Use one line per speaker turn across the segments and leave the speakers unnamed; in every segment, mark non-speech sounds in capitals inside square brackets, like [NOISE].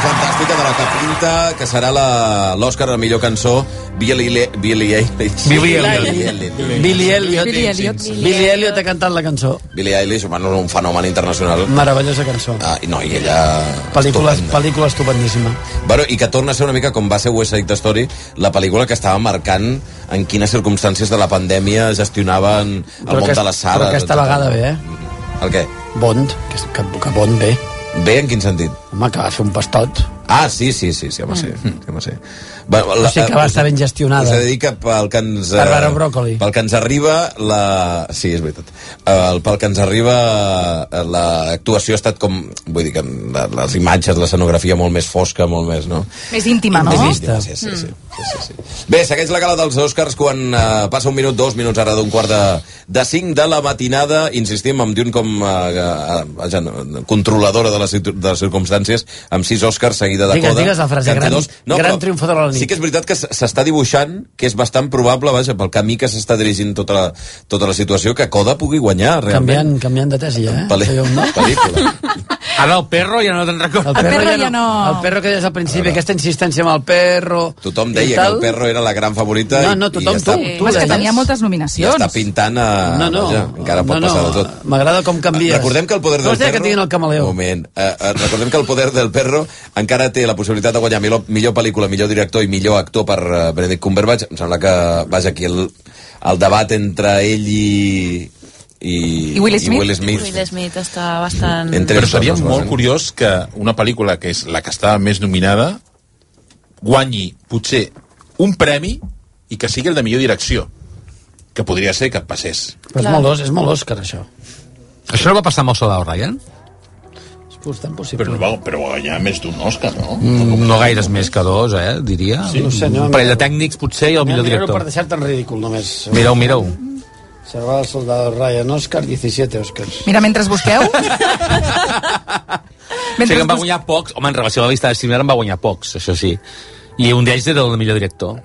la que pinta, que serà la- l'Òscar a la millor cançó, Billy Le- Billie Eilish.
Billie
Eilish.
Billy Elliot.
Billy Elliot.
Billy Elliot ha cantat la cançó.
Billie Eilish, bueno, un fenomen internacional.
Meravellosa cançó.
Ah, i no, i ella...
Pel·lícula,
estupenda.
pel·lícula estupendíssima.
Bueno, i que torna a ser una mica com va ser West Side Story, la pel·lícula que estava marcant en quines circumstàncies de la pandèmia gestionaven el
Però
món
aquest-
de les doncs, sales.
però aquesta
etcètera.
vegada bé, eh?
El què?
Bond, que, que, que Bond bé.
Bé, en quin sentit?
Home, que va fer un pastot.
Ah, sí, sí, sí, sí, home, sí. sí, home, sí. Va, eh,
O sigui que va estar ben gestionada.
Us he de dir que pel que ens... eh,
Barbara Broccoli.
Pel que ens arriba la... Sí, és veritat. El, pel que ens arriba eh, l'actuació ha estat com... Vull dir que la- les imatges, l'escenografia molt més fosca, molt més, no?
Més íntima, no? Mm.
Més
Més
íntima, sí, sí, sí, sí, sí, sí. Bé, segueix la gala dels Oscars quan eh, passa un minut, dos minuts ara d'un quart de, de cinc de la matinada. Insistim, amb Dune com eh, eh, vaja, controladora de les, situ- de les circumstàncies, amb sis Oscars seguida de
Digues,
coda.
digues la frase, gran- gran triomfador de la nit.
Sí que és veritat que s- s'està dibuixant, que és bastant probable, vaja, pel camí que s'està dirigint tota la, tota la situació, que coda pugui guanyar, realment.
Canviant, canviant de tesi, eh?
Pel·li-
Això ja ho- no?
pel·lícula.
[LAUGHS] Ara el perro ja no te'n recordo.
El perro ja no.
El perro que deies al principi, aquesta insistència amb el perro...
Tothom
i
deia que
tal.
el perro era la gran favorita
No,
i-
no, tothom,
i ja
tu,
està.
Sí.
tu
Home, és que
deies.
tenia moltes
Ja
nominacions.
està pintant a...
No, no,
vaja, encara pot
no, no,
passar de tot.
M'agrada com canvies.
Recordem que el poder
No
del
es deia
perro...
que tinguin el camaleó.
Moment. Eh, eh, recordem que el poder del perro encara té la possibilitat de guanyar millor, millor pel·lícula, millor director i millor actor per eh, Benedict Cumberbatch. Em sembla que, vaja, aquí el, el debat entre ell i... I,
I Will Smith?
Will Smith.
Will Smith està bastant...
Entre
Però
ells dos
seria
es
molt
basen.
curiós que una pel·lícula que és la que estava més nominada guanyi potser un premi i que sigui el de millor direcció que podria ser que passés.
Però és
Clar.
molt, os, és molt Òscar, això.
Això no va passar amb el Soldado Ryan?
És bastant possible.
Però, no va, però va guanyar més d'un Òscar, no?
Mm, no gaires més que dos, eh, diria.
Sí, no ho sé, no
un parell de
miro.
tècnics, potser, i el millor
Mira-ho per
director.
deixar-te en ridícul, només.
Mireu, mireu.
Salvador Soldado Ryan, Òscar, 17 Òscars.
Mira, mentre busqueu...
Mentre sí que en va
bus-
guanyar pocs, home, en relació a la llista de similar en va guanyar pocs, això sí. I un d'ells era el de millor director.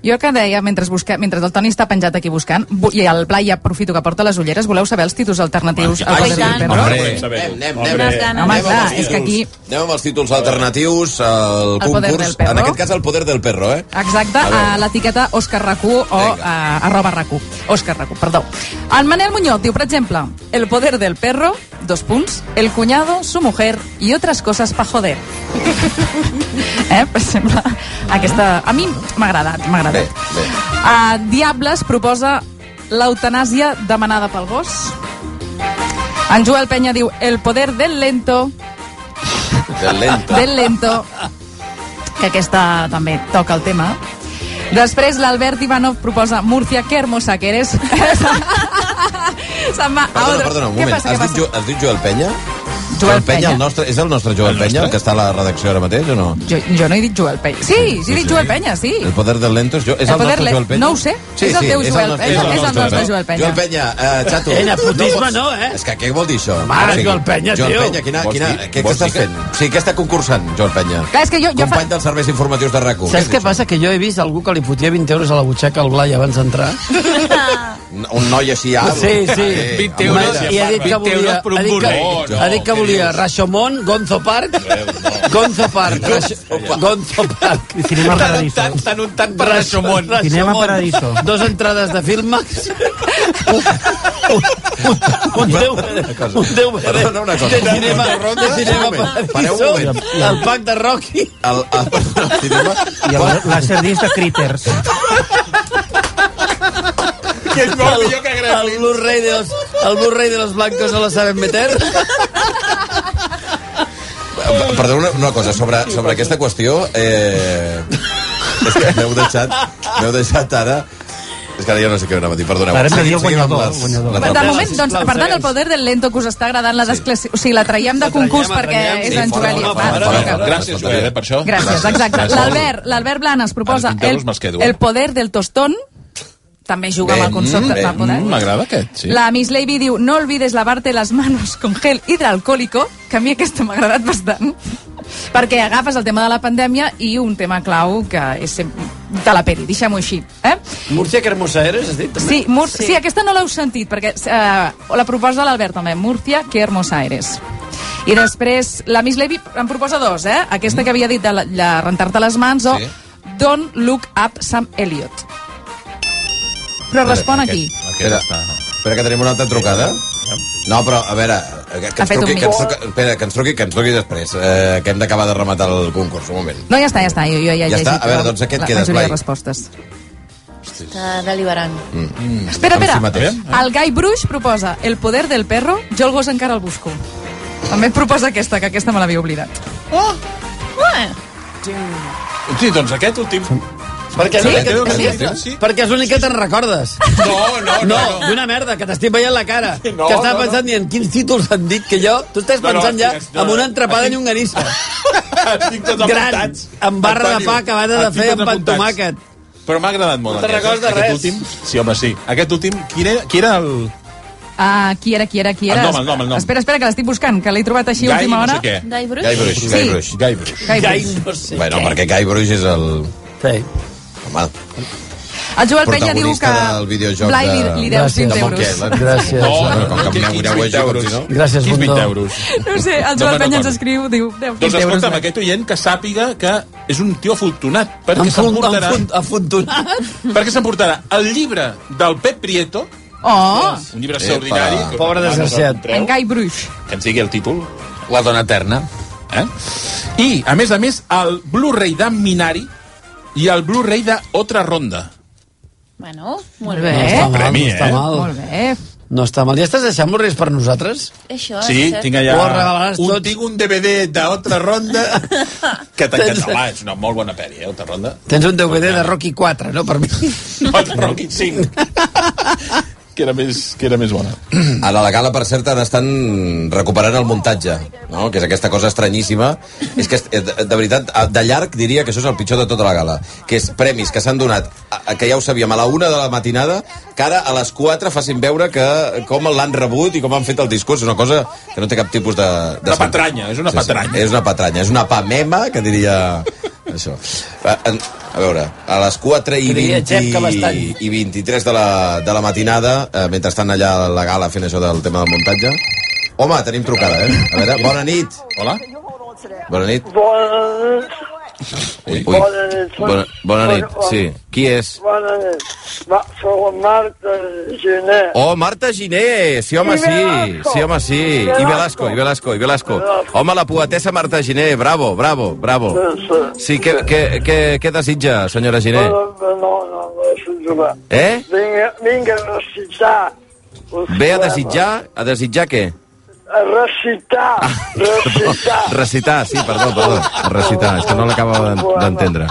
Jo que deia, mentre, busque, mentre el Toni està penjat aquí buscant, bu- i el Pla ja aprofito que porta les ulleres, voleu saber els títols alternatius al
ai,
Poder
tant.
del Perro?
Hombre.
Anem, anem,
Unes
anem.
ganes.
Home,
Anem amb
clar,
els
és que aquí...
títols. Anem amb els títols alternatius, el,
El poder
concurs,
del perro.
en aquest cas el poder del perro, eh?
Exacte,
A veure.
a l'etiqueta Òscar Racú o
Vinga.
a, arroba Racú. Òscar Racú, perdó. En Manel Muñoz diu, per exemple, El poder del perro, dos punts, el cuñado, su mujer i otras cosas pa joder.
[LAUGHS]
eh, per exemple, aquesta... A mi m'ha agradat, m'ha agradat.
Bé, bé.
Uh, Diables proposa l'eutanàsia demanada pel gos. En Joel Penya diu El poder del lento,
Del lento.
del lento, que aquesta també toca el tema. Després l'Albert Ivanov proposa Murcia, que hermosa que eres. Se'n va a
Perdona,
otro.
perdona, un
Què
moment.
passa,
has,
què
dit,
passa?
Jo- has dit Joel Penya?
Joel
Penya,
Penya.
el nostre, és el nostre Joel
El
Penya,
nostre?
el que està a la redacció ara mateix o no?
Jo, jo no he dit Joel Penya. Sí, sí, he dit Joel Penya, sí.
El poder del lento és, jo, és
El
el,
poder
nostre
lent-
Joel Penya?
no ho sé, és el teu Joel
nostre-
Penya, és el nostre
no?
Joel Penya.
Joel Penya, eh, xato.
Ella, putisme
pots-
no, eh?
És que què vol dir això?
Mare, Joel Penya,
Joel
tio.
Penya, quina,
Vols
quina,
dir-
què, què
vols
estàs
dir que-
fent? Sí, què està concursant, Joel Penya?
Clar, és que jo- jo fa-
Company dels serveis informatius de RAC1.
Saps què passa? Que jo he vist algú que li fotia 20 euros a la butxaca al Blai abans d'entrar.
Un noi així... alt.
Sí, sí.
Eh,
20
home,
euros.
I ha dit que
20 euros
volia,
per un
ha dit que,
burro.
No,
ha dit que
no,
volia
què dius?
Rashomon, Gonzo Park, Gonzo Park, Rash- Gonzo Park.
Cinema Paradiso.
Tant, tant un tant per
Rash-
Rashomon.
Rashomon.
Cinema Paradiso.
Dos entrades de Filmax. Un, un, un, un Déu
Perdona una cosa.
De cinema,
Ronda,
de cinema
un moment, pareu un
Paradiso,
moment.
el pack de Rocky.
El, el, el cinema...
I el,
Quan-
les sardines de Critters.
Que és molt millor que
El Blu-ray de, los- el Blu-ray de los blancos no la saben meter.
Perdó, una, una cosa, sobre, sobre aquesta qüestió... Eh... És que m'heu deixat, m'heu deixat ara... És que ara jo no sé què anava a dir, perdoneu.
Ara hem de dir
Seguim- seguim amb
guanyador,
les-
guanyador.
les
Per de
reunions.
moment, doncs, per tant, el poder del lento que us està agradant la desclassi... O sigui, la traiem de concurs
traiem,
perquè
traiem.
és
Sí,
en
fora,
Joel.
fora,
Va,
fora,
vinga.
fora, fora.
Gràcies, Joel, eh, per això.
Gràcies, exacte.
Gràcies.
L'Albert l'Albert Blanes proposa
Ara, quinze
el,
euros me'ls quedo,
el
eh?
poder del tostón. També juga amb el concepte
bé,
del poder.
Mm, M'agrada aquest, sí.
La Miss Levy diu no olvides lavarte las manos con gel hidroalcohòlico, que a mi aquesta m'ha agradat bastant, perquè agafes el tema de la pandèmia i un tema clau que és sem- de la peli, deixem-ho així. Eh?
Murcia que hermosa eres, has dit?
Sí, Mur sí. sí, aquesta no l'heu sentit, perquè eh, la proposa l'Albert també, Murcia, que hermosa eres. I després, la Miss Levy em proposa dos, eh? Aquesta que havia dit de, la, de rentar-te les mans o
Sí.
Don't Look Up Sam Elliot. Però respon aquí.
Espera, espera, que tenim una altra trucada. No, però, a veure, eh, que, que,
Ha
ens
fet un
truqui, que, ens
mix.
truqui, espera, que ens truqui, que ens truqui després, eh, que hem d'acabar de rematar el concurs, un moment.
No, ja està, ja està. Jo, jo ja,
Ja
he llegit
està? A veure,
la-
doncs aquest
la
queda,
majoria de
Blai.
respostes.
Està deliberant.
Espera,
Mm, Amb si
espera.
mateix.
eh?
El Guy Bruix proposa El poder del perro, jo el gos encara el busco. També et proposa aquesta, que aquesta me l'havia oblidat.
Sí, doncs aquest últim.
Perquè, és
Sí?
l'únic que-
Sí?
Sí.
perquè és l'únic que te'n recordes.
No, no,
No,
no. no.
d'una merda, que t'estic veient la cara.
No,
que estava
no,
pensant, dient, quins títols han dit que jo... Tu estàs
No, no,
pensant ja
hòsties, no,
en
no.
una entrepada de llonganissa.
Estic tots
Gran,
apuntats.
amb barra de
Antonio,
pa acabada de
estic
fer
tots
amb pan
apuntats.
tomàquet.
Però m'ha agradat
No
molt.
te'n
aquest,
recordes de
aquest
res.
Últim, sí, home, sí. Aquest últim, qui era, qui era el...
Ah, qui era, qui era, qui era?
El nom, el nom, el nom.
Espera, espera, que l'estic buscant, que l'he trobat així
Guy,
última hora.
no sé què.
Dai Bruix?
Guy Bruix,
Sí.
Guy Bruix.
Guy Bruix.
Guy
Ja,
Bruix.
no sé.
Bueno, perquè Guy Bruix és el...
Sí.
Home,
El Joel Penya diu
Protagonista
que
del videojoc
Blai
de-
li, li deus
Gràcies.
20
de
euros.
Montquiel. eh?
Gràcies.
No, com que em mireu així, com si no.
Gràcies,
Quins 20
Bundó.
euros.
No ho sé, el
No me'n
Joel Penya ens
recordo.
escriu, diu, deus 20
Doncs
euros.
escolta'm,
Blai.
aquest oient que sàpiga que és un tio afortunat, perquè
Enfon-
s'emportarà
enfon- Afortunat.
[LAUGHS] perquè s'emportarà el llibre del Pep Prieto,
Oh,
un llibre
Epa.
extraordinari. que-
Pobre desgraciat.
en Guy Bruix.
Que ens digui el títol.
La dona eterna.
Eh? I, a més a més, el Blu-ray de Minari i el Blu-ray de Otra Ronda.
Bueno, molt
Molt
bé.
bé.
No està mal,
Premi,
no està
eh?
mal.
Molt bé.
No està mal. Ja estàs deixant molt res per nosaltres?
Això
Sí,
és cert.
tinc allà...
Ho regalaràs
un,
tot.
tinc un DVD d'Otra Ronda que en català és una molt bona pel·li, eh, Otra Ronda. [LAUGHS]
Tens un DVD de Rocky 4, no? Per mi.
Otra Rocky 5. que, era més, que era més bona.
A la Gala, per cert, ara estan recuperant el muntatge, no? que és aquesta cosa estranyíssima. És que, eh, de, de veritat, eh, de llarg diria que això és el pitjor de tota la gala, que és premis que s'han donat, a, a- que ja ho sabíem, a la una de la matinada, que ara a les 4 facin veure que com l'han rebut i com han fet el discurs. És una cosa que no té cap tipus de... de
Una
sentit.
patranya, és una patranya.
és una patranya, és una pamema, que diria... Això. A, en- a veure, a les 4 i,
Diria Jep
20,
Cabestany.
i 23 de la, de la matinada, eh, mentre estan allà a la gala fent això del tema del muntatge. Home, tenim trucada, eh? A veure, bona nit.
Hola?
Bona nit.
Bon...
Ui,
Bona nit.
Bona, bona nit, sí. Qui és?
Bona nit. Va, sou en Marta Gené.
Oh, Marta Giné, sí, home,
I
sí,
Velasco.
sí, home, sí. I Velasco, i Velasco, i Velasco.
Velasco.
Home, la poetessa Marta Giné, bravo, bravo, bravo. Sí, què, què, què, què desitja, senyora Giné?
No, no, no, no, és jugar.
Eh?
Vinga, vinga a recitar.
Ve a desitjar, a desitjar què?
A recitar, recitar.
[LAUGHS] Recitar, sí, perdó, perdó. A Recitar, és que no l'acabo d'en- d'entendre.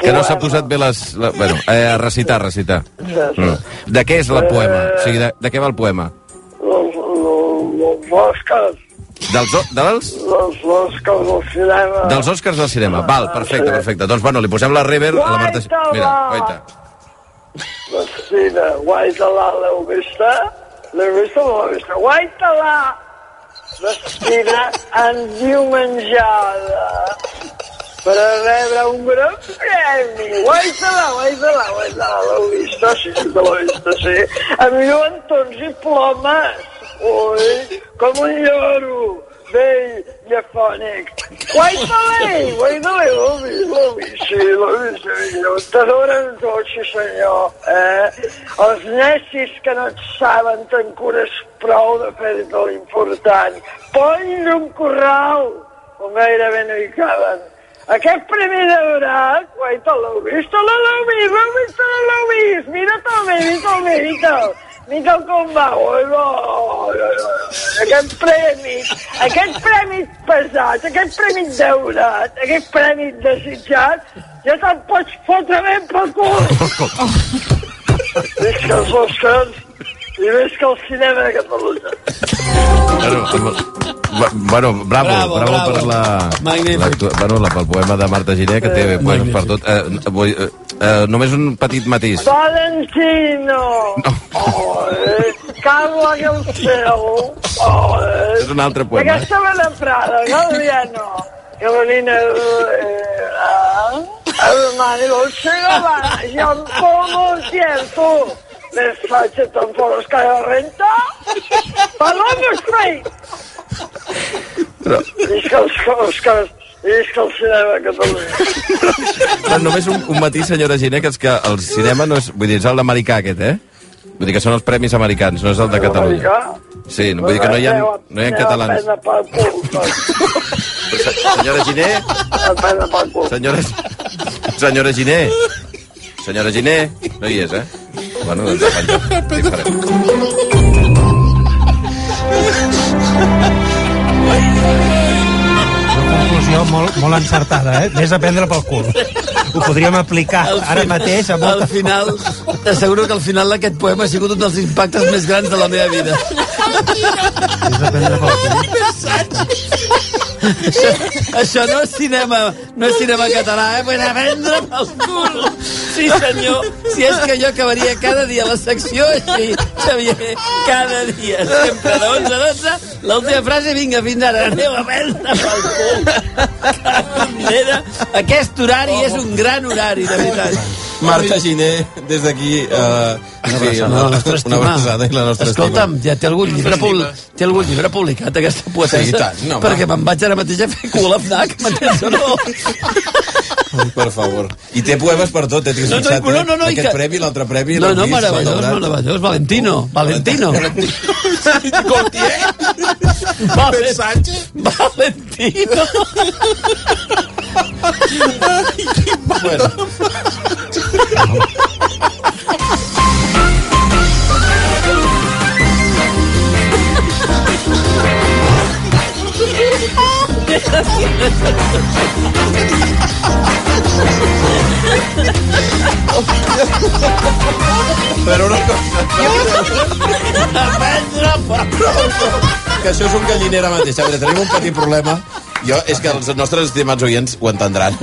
Que no s'ha posat bé les... La, bueno, eh, a recitar, recitar. Mm. De què és el poema? O sigui, de, de què va el poema?
Los, los, los Oscars,
Dels, o- dels,
los Oscars del cinema.
dels Oscars del cinema. Val, perfecte, perfecte. Doncs, bueno, li posem la River a la Marta... Mira, guaita.
Cristina, guaita-la, l'heu vista? L'heu vista o no l'heu vista? Guaita-la! Vestida endiumenjada per a rebre un gran premi. Guaita-la, guaita-la, guaita-la. L'heu vista? Sí, sí que l'heu vista, sí. Amb lluentons i plomes. Ui, com un lloro vell i afònic. Guaita-la, guaita-la, l'heu vist, l'heu vist, sí, l'heu vist, sí, l'heu vist. T'adoren tots, sí senyor, eh? Els necis que no et saben t'encures prou de fer-te l'important. Pony un corral, on gairebé no hi caben. Aquest primer daurat, guai, te l'heu vist, te l'heu vist, l'heu vist, te l'heu vist, mira te'l bé, mira-te'l bé, mira-te'l. Mira com va, oi, oi, oi, oi. Aquest premi, aquest premi pesat, aquest premi daurat, aquest premi desitjat, ja te'n pots fotre ben pel cul. Visca els Oscars i visca el cinema de Catalunya.
Bueno, va- bueno, bravo, bravo,
Bravo,
bravo
bravo.
per la...
Magnífic.
l'actua- bueno, la, pel poema de Marta Giné, que té... Bueno, per tot... Eh, vull, eh, eh, només un petit matís.
Valentino! Oh, eh? Carla Galceu! Oh, eh?
És un altre poema.
Aquesta me la prada, Galdiano! Carolina... Eh, ah, hermano, lo sé, va, yo como cierto. Les faccio tampoco los cae a renta. Paloma Street!
Però,
Visca els cors, cors. Visca el cinema a Catalunya.
però només un, un matí, senyora Giné, que és que el cinema no és... Vull dir, és el americà aquest, eh? Vull dir que són els premis americans, no és el de Catalunya. Sí, no, vull dir que no hi ha, no hi ha catalans. Però, se- senyora Giné, senyora, senyora Giné, senyora Giné, no hi és, eh? Bueno, doncs ja [LAUGHS] penja. Diferent.
Una conclusió molt, molt encertada, eh? Més a prendre pel cul. Ho podríem aplicar
Al
ara
fi-
mateix a
Al
molta...
final, t'asseguro que al final d'aquest poema ha sigut un dels impactes més grans de la meva vida.
Més a prendre pel cul.
Això, això no és cinema, no és cinema català, eh? Vull vendre pel cul. Sí, senyor. Si és que jo acabaria cada dia la secció així, Xavier, cada dia, sempre de 11 a 12, l'última frase, vinga, fins ara, aneu a vendre pel cul. Manera, aquest horari és un gran horari, de veritat.
Marta Giné, des d'aquí... Eh, una abraçada.
No, la nostra estima.
Una abraçada i la nostra
Escolta'm,
estima.
ja té algun llibre, pub... té algun llibre publicat, aquesta poetessa?
Sí, i tant, no, home.
perquè me'n vaig ara mateix a fer cul a FNAC, [LAUGHS] m'entens o no?
Per favor. I té poemes per tot, eh? T'hi has
No, no,
fixat,
no,
eh?
no, no, i
Aquest
que-
premi, l'altre premi...
No,
l'heu
no,
vist,
meravellós,
celebrat.
meravellós. Valentino, Valentino. Valen- Valentino.
Bueno, però una cosa, que això és un galliner ara mateix. A veure, tenim un petit problema. Jo, és que els nostres estimats oients ho entendran.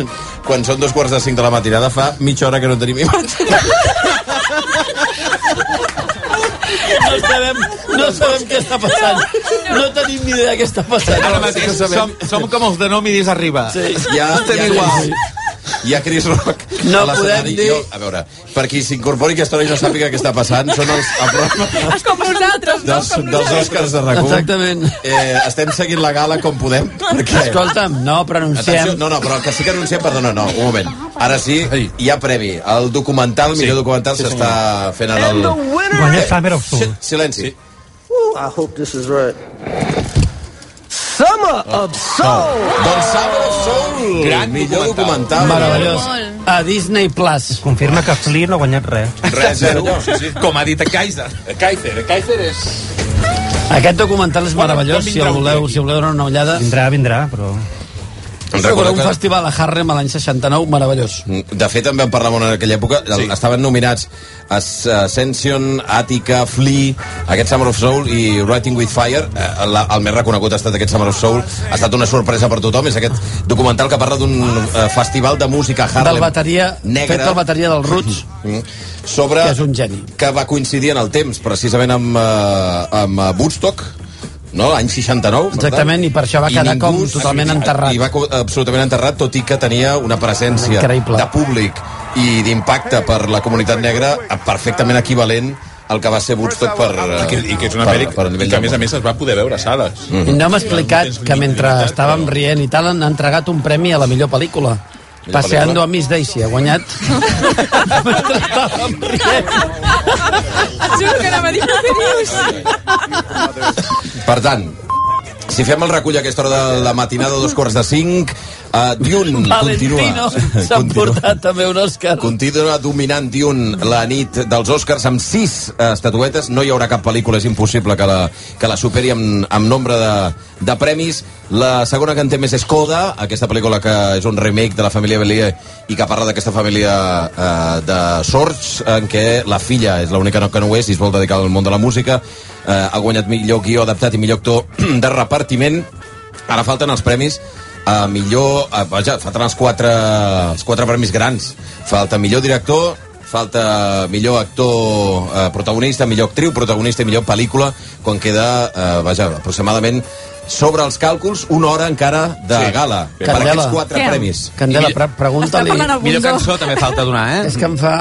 Quan són dos quarts de cinc de la matinada fa mitja hora que no tenim imatge.
No sabem, no sabem què està passant. No tenim ni idea què està passant.
Ara mateix som, som com els de no miris arriba. Sí.
Ja,
Estem
ja,
igual.
Hi ha Chris Rock
No
a l'escenari.
podem dir-
Jo, a veure, per qui s'incorpori aquesta hora i no sàpiga què està passant, són els el programa
És com
[LAUGHS]
nosaltres, no?
dels, dels Oscars de RAC1.
Exactament.
Eh, estem seguint la gala com podem, perquè...
Escolta'm, no,
Atenció,
pronunciem.
no, no, però que sí que anunciem, perdona, no, un moment. Ara sí, hi ha premi. El documental, el millor documental, s'està fent ara el...
Guanyat Summer of Soul.
Xi- Silenci.
I hope this is right. Summer
Oh.
of Soul!
Doncs Summer of Soul,
Gran
millor documental.
Meravellós.
Molt.
A Disney Plus.
Confirma que Flea no ha guanyat res.
Res, zero. Eh,
Com ha dit a Kaiser.
Kaiser, Kaiser és...
Aquest documental és meravellós,
quan
si el
vindrà un
voleu,
dia?
si voleu donar una ullada.
Vindrà, vindrà, però...
Recordeu un festival a Harlem a l'any 69, meravellós.
De fet, en vam parlar molt en aquella època. Sí. Estaven nominats As- Ascension, Attica, Flea, aquest Summer of Soul i Writing with Fire. Eh, la, el més reconegut ha estat aquest Summer of Soul. Ha estat una sorpresa per tothom. És aquest documental que parla d'un eh, festival de música a Harlem.
Del bateria,
Negre.
fet del bateria del Roots.
sobre
Que és un geni.
que va coincidir en el temps precisament amb, eh, amb eh, Woodstock no? l'any 69 per
Exactament, i per això va quedar
ningú-
com totalment enterrat.
i va co- absolutament enterrat tot i que tenia una presència
Increïble.
de públic i d'impacte per la comunitat negra eh, perfectament equivalent al que va ser Woodstock per... eh,
I que, i que és una
per-
pel·li
per nivell
i que, a
de- Mm-hmm.
més a més, es va poder veure a sales.
I no m'ha explicat que mentre estàvem rient i tal han entregat un premi a la millor pel·lícula. Paseando a Miss Daisy, ha guanyat. Mentre estàvem rient.
Juro que anava a dir, què dius?
Per tant, si fem el recull a aquesta hora de la matinada, dos quarts de cinc, uh, Dune
Valentino
continua.
[LAUGHS] s'ha portat també un Òscar.
Continua dominant Dune la nit dels Oscars amb sis eh, estatuetes. No hi haurà cap pel·lícula, és impossible que la, que la superi amb, amb nombre de, de premis. La segona que en té més és Coda, aquesta pel·lícula que és un remake de la família Bellier i que parla d'aquesta família eh, de sorts en què la filla és l'única no- que no ho és i es vol dedicar al món de la música. Eh, ha guanyat millor guió adaptat i millor actor [CLEARS THROAT] de repartiment. Ara falten els premis a millor... A, vaja, falten els quatre, els quatre premis grans. Falta millor director, falta millor actor eh, protagonista, millor actriu protagonista i millor pel·lícula, quan queda, eh, vaja, aproximadament sobre els càlculs, una hora encara de sí. gala. Per
Candela.
aquests quatre
Què?
premis.
Candela,
I-
pre
Estem
pregunta-li...
parlant al
Millor
Bundó. Ah.
cançó també falta donar, eh?
És que em fa...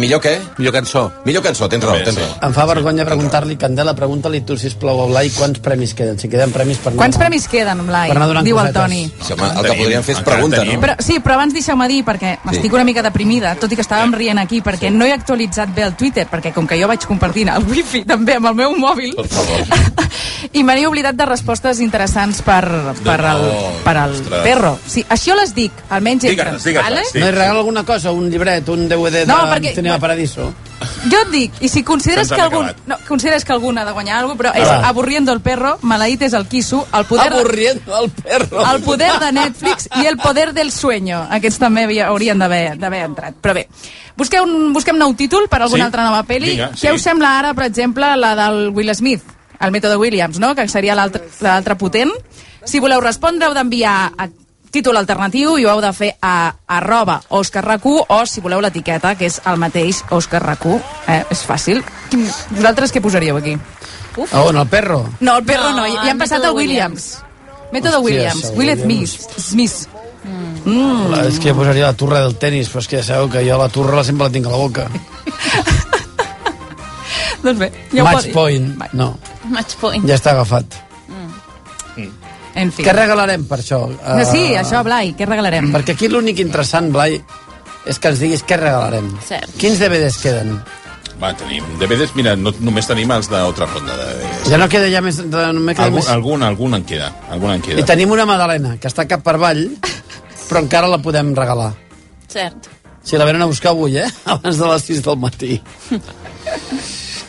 Millor què?
Millor cançó.
Millor cançó, tens raó, tens raó.
Em fa vergonya preguntar-li, Candela, pregunta-li tu, sisplau, a Blai, quants premis queden, si queden premis per anar...
Quants premis queden, Blai?
Per anar donant
Diu el
cosetes.
Toni.
Sí, home, el que podríem fer és
Encara
pregunta,
tenim.
no?
Però, sí, però abans deixeu-me dir, perquè m'estic una mica deprimida, tot i que estàvem rient aquí, perquè no he actualitzat bé el Twitter, perquè com que jo vaig compartint el wifi també amb el meu mòbil, i me n'he oblidat de respostes interessants per,
Doncs,
per, el, per al
Ostres.
perro. Sí, això les dic, almenys entren.
Digue-les, digue-les,
vale?
sí.
No hi regala alguna cosa, un llibret, un DVD
No,
de
perquè-
Cinema Paradiso?
Jo et dic, i si consideres
Se'ns
que,
han
algun,
acabat.
no, consideres que algun ha de guanyar alguna cosa, però és Aburriendo el perro, Maleït és el quiso, el poder...
Avorriendo al perro.
El poder de Netflix i el poder del sueño. Aquests també havia- haurien d'haver d'haver entrat. Però bé, busqueu un, busquem nou títol per alguna
Sí.
altra nova pel·li.
Vinga, sí.
Què us sembla ara, per exemple, la del Will Smith, el mètode Williams, no? que seria l'altre l'altre potent? Si voleu respondre, heu d'enviar a títol alternatiu i ho heu de fer a arroba oscarracu o, si voleu, l'etiqueta, que és el mateix oscarracu. Eh? És fàcil. Quin- Vosaltres què posaríeu aquí?
A on, Ah, el perro?
No, el perro no,
No,
ja- ja
el
han passat
Método
el Williams. Método
Hòstia,
Williams,
el
Will
Williams.
Smith. Smith. Mm.
La, és que jo posaria la turra del tennis, però és que ja sabeu que jo la turra la sempre la tinc a la boca.
Doncs bé, ja
Ja
ho
Match
pot-
point. No,
Match point. Mm.
ja està agafat.
En fi.
Què regalarem per això?
No, sí,
Eh,
això, Blai, què regalarem?
Perquè aquí l'únic interessant, Blai, és que ens diguis què regalarem.
Cert.
Quins DVDs queden?
Va, tenim DVDs, mira, no, només tenim els d'altra ronda de DVDs.
Ja no queda ja més... de- No me queda
Algun,
més.
algun, algun en queda, algun en
I
queda.
tenim una Madalena, que està cap per avall, però encara la podem regalar.
Cert.
Si la venen a buscar avui, eh? [LAUGHS] Abans de les 6 del matí.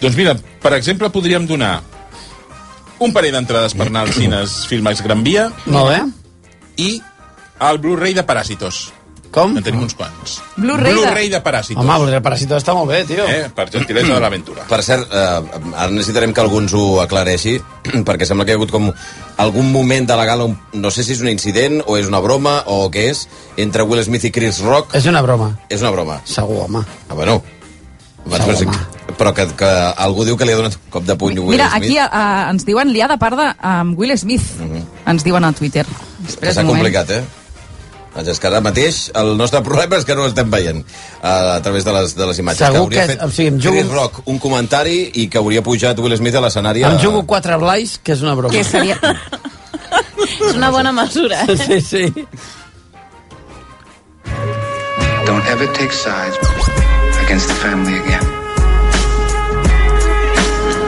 Doncs mira, per exemple, podríem donar un parell d'entrades per anar als cines Filmax Gran Via
Molt bé.
i el Blu-ray de Paràsitos.
Com?
En tenim uns quants.
Blu-ray de-
Blu-ray de... Paràsitos.
Home, el Parasito està molt bé, tio.
Eh? Per gentilesa de l'aventura.
Per cert, eh, ara necessitarem que algú ens ho aclareixi, [CLEARS THROAT] perquè sembla que hi ha hagut com algun moment de la gala, un- no sé si és un incident o és una broma o què és, entre Will Smith i Chris Rock.
És una broma.
És una broma.
Segur, home.
Ah, bueno. Però,
Segur,
però que, que algú diu que li ha donat cop de puny a Will
Mira,
Smith.
aquí eh, ens diuen liar de part de amb Will Smith. Ens diuen a Twitter. Espera
S'ha
un moment.
complicat, eh? Doncs és que ara mateix el nostre problema és que no ho estem veient a, a través de les, de les imatges.
Segur
hauria
que-
fet
o sigui, em jugo-
Chris Rock un comentari i que hauria pujat Will Smith a l'escenari.
Em
a-
jugo quatre blais, que és una broma.
Que seria...
És una bona mesura. eh?
Sí, sí.
Don't ever take sides against the family again.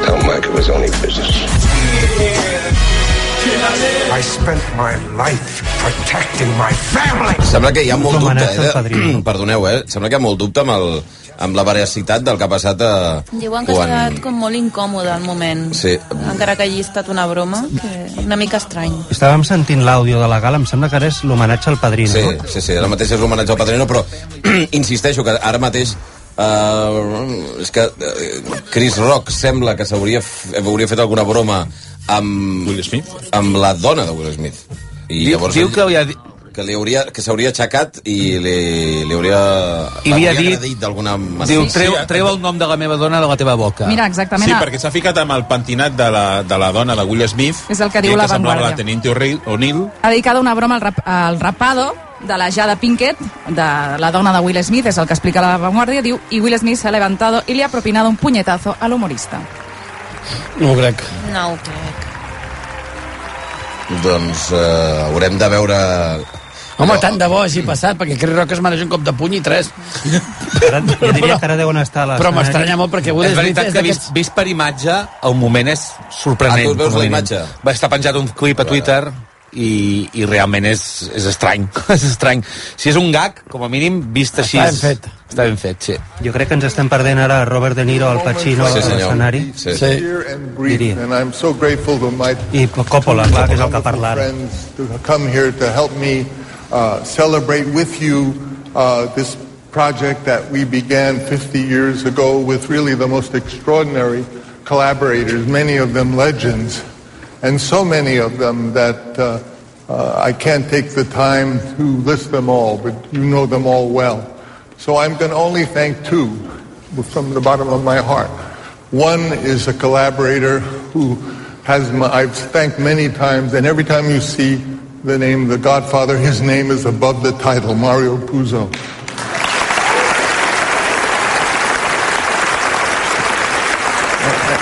Tell Mike it was only business.
I spent my life protecting my family.
Sembla que hi ha molt dubte,
homenatge
eh?
al
De...
padrí.
[CLEARS THROAT] Perdoneu, eh? Sembla que hi ha molt dubte amb, el, amb la veracitat del que ha passat a...
Diuen que ha estat com molt incòmode al moment.
Sí.
Encara que hagi estat una broma, que una mica estrany.
Estàvem sentint l'àudio de la gala, em sembla que ara és l'homenatge al padrí,
Sí,
no?
sí, sí, ara mateix és l'homenatge al Padrino, però [CLEARS THROAT] insisteixo que ara mateix Uh, és que uh, Chris Rock sembla que s'hauria f- hauria fet alguna broma amb,
Will Smith?
amb la dona de Will Smith i
Diu,
llavors
diu
ell-
que li ha dit...
que li hauria que s'hauria aixecat i li, li hauria
I li ha
hauria
dit-
agredit d'alguna manera
Diu,
sí,
treu,
eh?
treu el nom de la meva dona de la teva boca.
Mira, exactament.
Sí,
a-
perquè s'ha ficat amb el pentinat de la, de la dona de Will Smith.
És el que diu
dient
La
semblava
Vanguardia.
la Teniente O'Reilly- O'Neill.
Ha dedicat una broma al, rap, al rapado de la Jada Pinkett, de la dona de Will Smith, és el que explica la Vanguardia, diu, y Will Smith se ha levantado y le ha propinado un puñetazo al humorista.
No ho crec.
No ho crec.
doncs eh, haurem de veure
Home,
Allò-
tant de bo hagi passat, perquè Chris Rock es mereix un cop de puny i tres.
Ara, jo diria que ara deuen estar a
Però
l'escenari.
m'estranya molt, perquè Will
és
Smith
veritat
és
que vist,
d'aquests...
vist per imatge, el moment és
Ah,
sorprenent.
tu et veus
com a
la
mínim.
imatge?
Va estar penjat un clip a Twitter i, i realment és, és estrany. [LAUGHS] és estrany. Si és un gag, com a mínim, vist així...
ben
és-
Ah, fet.
Està ben fet, sí.
Jo crec que ens estem perdent ara Robert De Niro, al Pacino,
sí,
a
senyor
l'escenari.
sí.
Sí.
Fear and grief,
Diria.
and I'm so grateful to my
I Coppola, clar, que és el que parla
wonderful
ara.
friends to come here to help me uh, celebrate with you uh, this project that we began 50 years ago with really the most extraordinary collaborators, many of them legends, and so many of them that uh, uh, I can't take the time to list them all, but you know them all well. So I'm going to only thank two from the bottom of my heart. One is a collaborator who has my, I've thanked many times, and every time you see the name The Godfather, his name is above the title, Mario Puzo.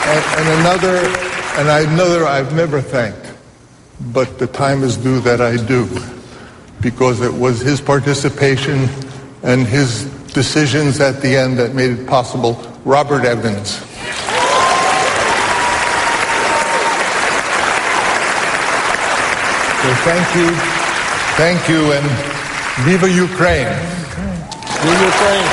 And, and another, and another I've never thanked, but the time is due that I do, because it was his participation and his decisions at the end that made it possible. Robert Evans. So thank you, thank you, and viva Ukraine. Viva Ukraine.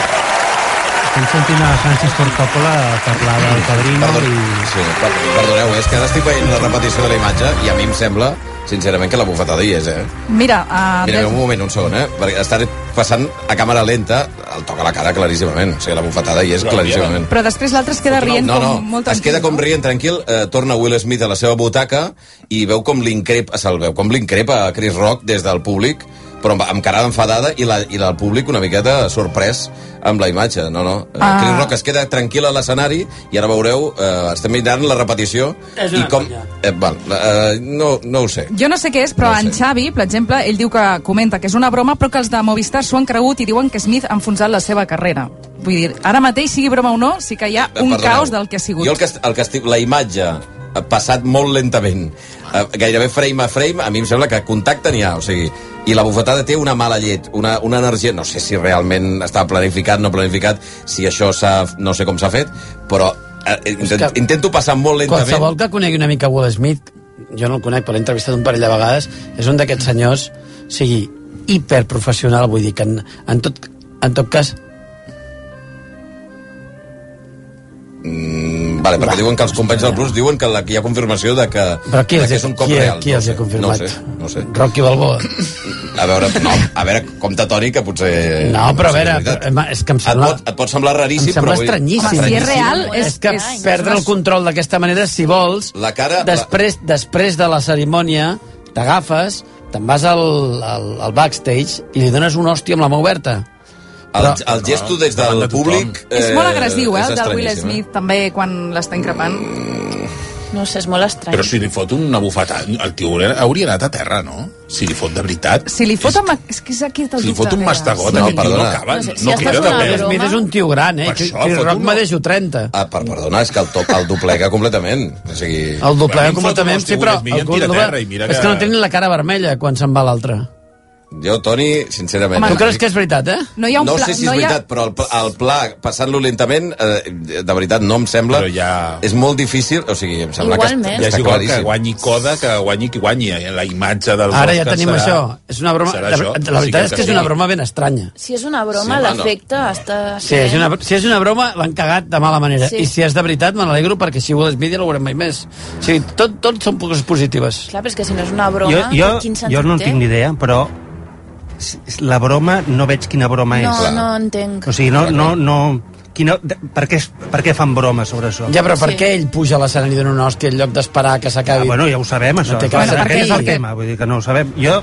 Estem sentint a Francis Ford Coppola parlar del Padrino
Perdó-
i...
sí, per- perdoneu, eh, és que ara estic veient la repetició de la imatge i a mi em sembla, sincerament, que la bufetada hi és, eh?
Mira, a...
Mira, un moment, un segon, eh? Perquè estar passant a càmera lenta el toca a la cara claríssimament. O sigui, la bufetada hi és claríssimament.
Però després l'altre es queda rient
No, no,
com molt
es queda com rient tranquil, eh, torna Will Smith a la seva butaca i veu com l'increpa, se'l veu com l'increpa a Chris Rock des del públic, però amb, amb cara enfadada i, la, i el públic una miqueta sorprès amb la imatge, no, no. Ah.
Ah.
Chris Rock es queda tranquil a l'escenari i ara veureu, eh, estem mirant la repetició
És
i
una
com... Eh, val, eh, no, no ho sé.
Jo no sé què és, però no en Xavi, per exemple, ell diu que comenta que és una broma, però que els de Movistar s'ho han cregut i diuen que Smith ha enfonsat la seva carrera. Vull dir, ara mateix, sigui broma o no, sí que hi ha un
Eh, Perdoneu,
caos del que ha sigut.
Jo el que, est- el que estic, la imatge ha passat molt lentament, eh, gairebé frame a frame, a mi em sembla que contacte n'hi ha, o sigui, i la bufetada té una mala llet, una, una energia, no sé si realment estava planificat, no planificat, si això s'ha, no sé com s'ha fet, però eh, intent,
que-
intento passar molt lentament.
Qualsevol que conegui una mica Will Smith, jo no el conec, però l'he entrevistat un parell de vegades, és un d'aquests senyors, o sigui, hiperprofessional, vull dir que en, en, tot, en tot cas...
Mm, vale, perquè diuen que els companys del Plus diuen que la, que hi ha confirmació de que,
Però qui
de
els
que
hi-
és un cop
qui-
real.
qui
no
els hi
sé,
ha confirmat?
No ho sé, no ho sé.
Rocky Balboa.
A veure, no, a veure, compte Toni, que potser...
No, però a
sé si és
veure,
veritat.
però, home, és que em sembla...
pot, et pot semblar raríssim,
em sembla
però... vull dir-
estranyíssim.
Home, si és real, és-
és que
és- és
perdre
una-
el control d'aquesta manera, si vols,
La cara...
després, després de la cerimònia, t'agafes, te'n vas al, al, al backstage i li dones un hòstia amb la mà oberta.
El, el gesto des del públic...
És molt agressiu, eh,
és
el del Will
estranyíssim,
Smith, també, quan l'està increpant.
No sé, és molt estrany.
Però si li fot una bufetada, el tio hauria- hauria anat a terra, no? Si li fot de veritat.
Si li fot amb... eh? És que és aquí el
Si li
dubte,
fot un
mira.
mastegot,
No,
no, aquest tio no
perdona.
acaba,
No sé,
no,
si
no
has
queda
fet
de
una
peu.
broma-
Smith és un tio gran, eh?
Per
Chris
això,
Chris
fot
Rock
un-
me deixo 30.
Ah, per, perdona, és que el, to, el doblega completament. O sigui...
El
A mi
doblega
em fot un
completament,
hòstia,
sí, però...
Will Smith em
algun
tira a
doble-
terra i mira
Ah. És
que-
que no tenen la cara vermella quan se'n va l'altre.
Jo, Toni, sincerament...
Tu creus que és veritat, eh?
No hi ha un
No
pla...
sé si és
no hi ha-
veritat, però el, pla- el pla, passant-lo lentament, eh, de veritat, no em sembla...
Però ja-
És molt difícil, o sigui, em sembla que
Igualment.
està,
Ja és
està
igual que
claríssim.
guanyi Coda, que guanyi qui guanyi. eh? La imatge del
Ara ja
Oscar
tenim
serà-
això. És una broma...
serà
La,
això.
la
Sí,
veritat és que és
sí.
una broma ben estranya.
Si és una
Sí,
broma,
home, no.
l'efecte està...
Si és, una, si és una broma, l'han cagat de mala manera.
Sí.
Sí. I si és de veritat, me n'alegro perquè si Will Smith ja no ho veurem mai més. O sigui, tot, tot són coses positives.
Clar, però és que si no és una broma,
Jo, jo,
quin sentit
jo no en
té?
tinc ni idea, però s- s- la broma no veig quina broma
No,
és.
no entenc.
O sigui, no... no, no quina, de, per, què, es- per què fan broma sobre això?
Ja, però per
Sí.
què ell puja a l'escenari i dona una hòstia en lloc d'esperar que
Ah,
s'acabi?
bueno, ja ho sabem, això.
No té
Bueno,
clar,
aquest és
perquè-
el tema, vull dir que no ho sabem. Jo,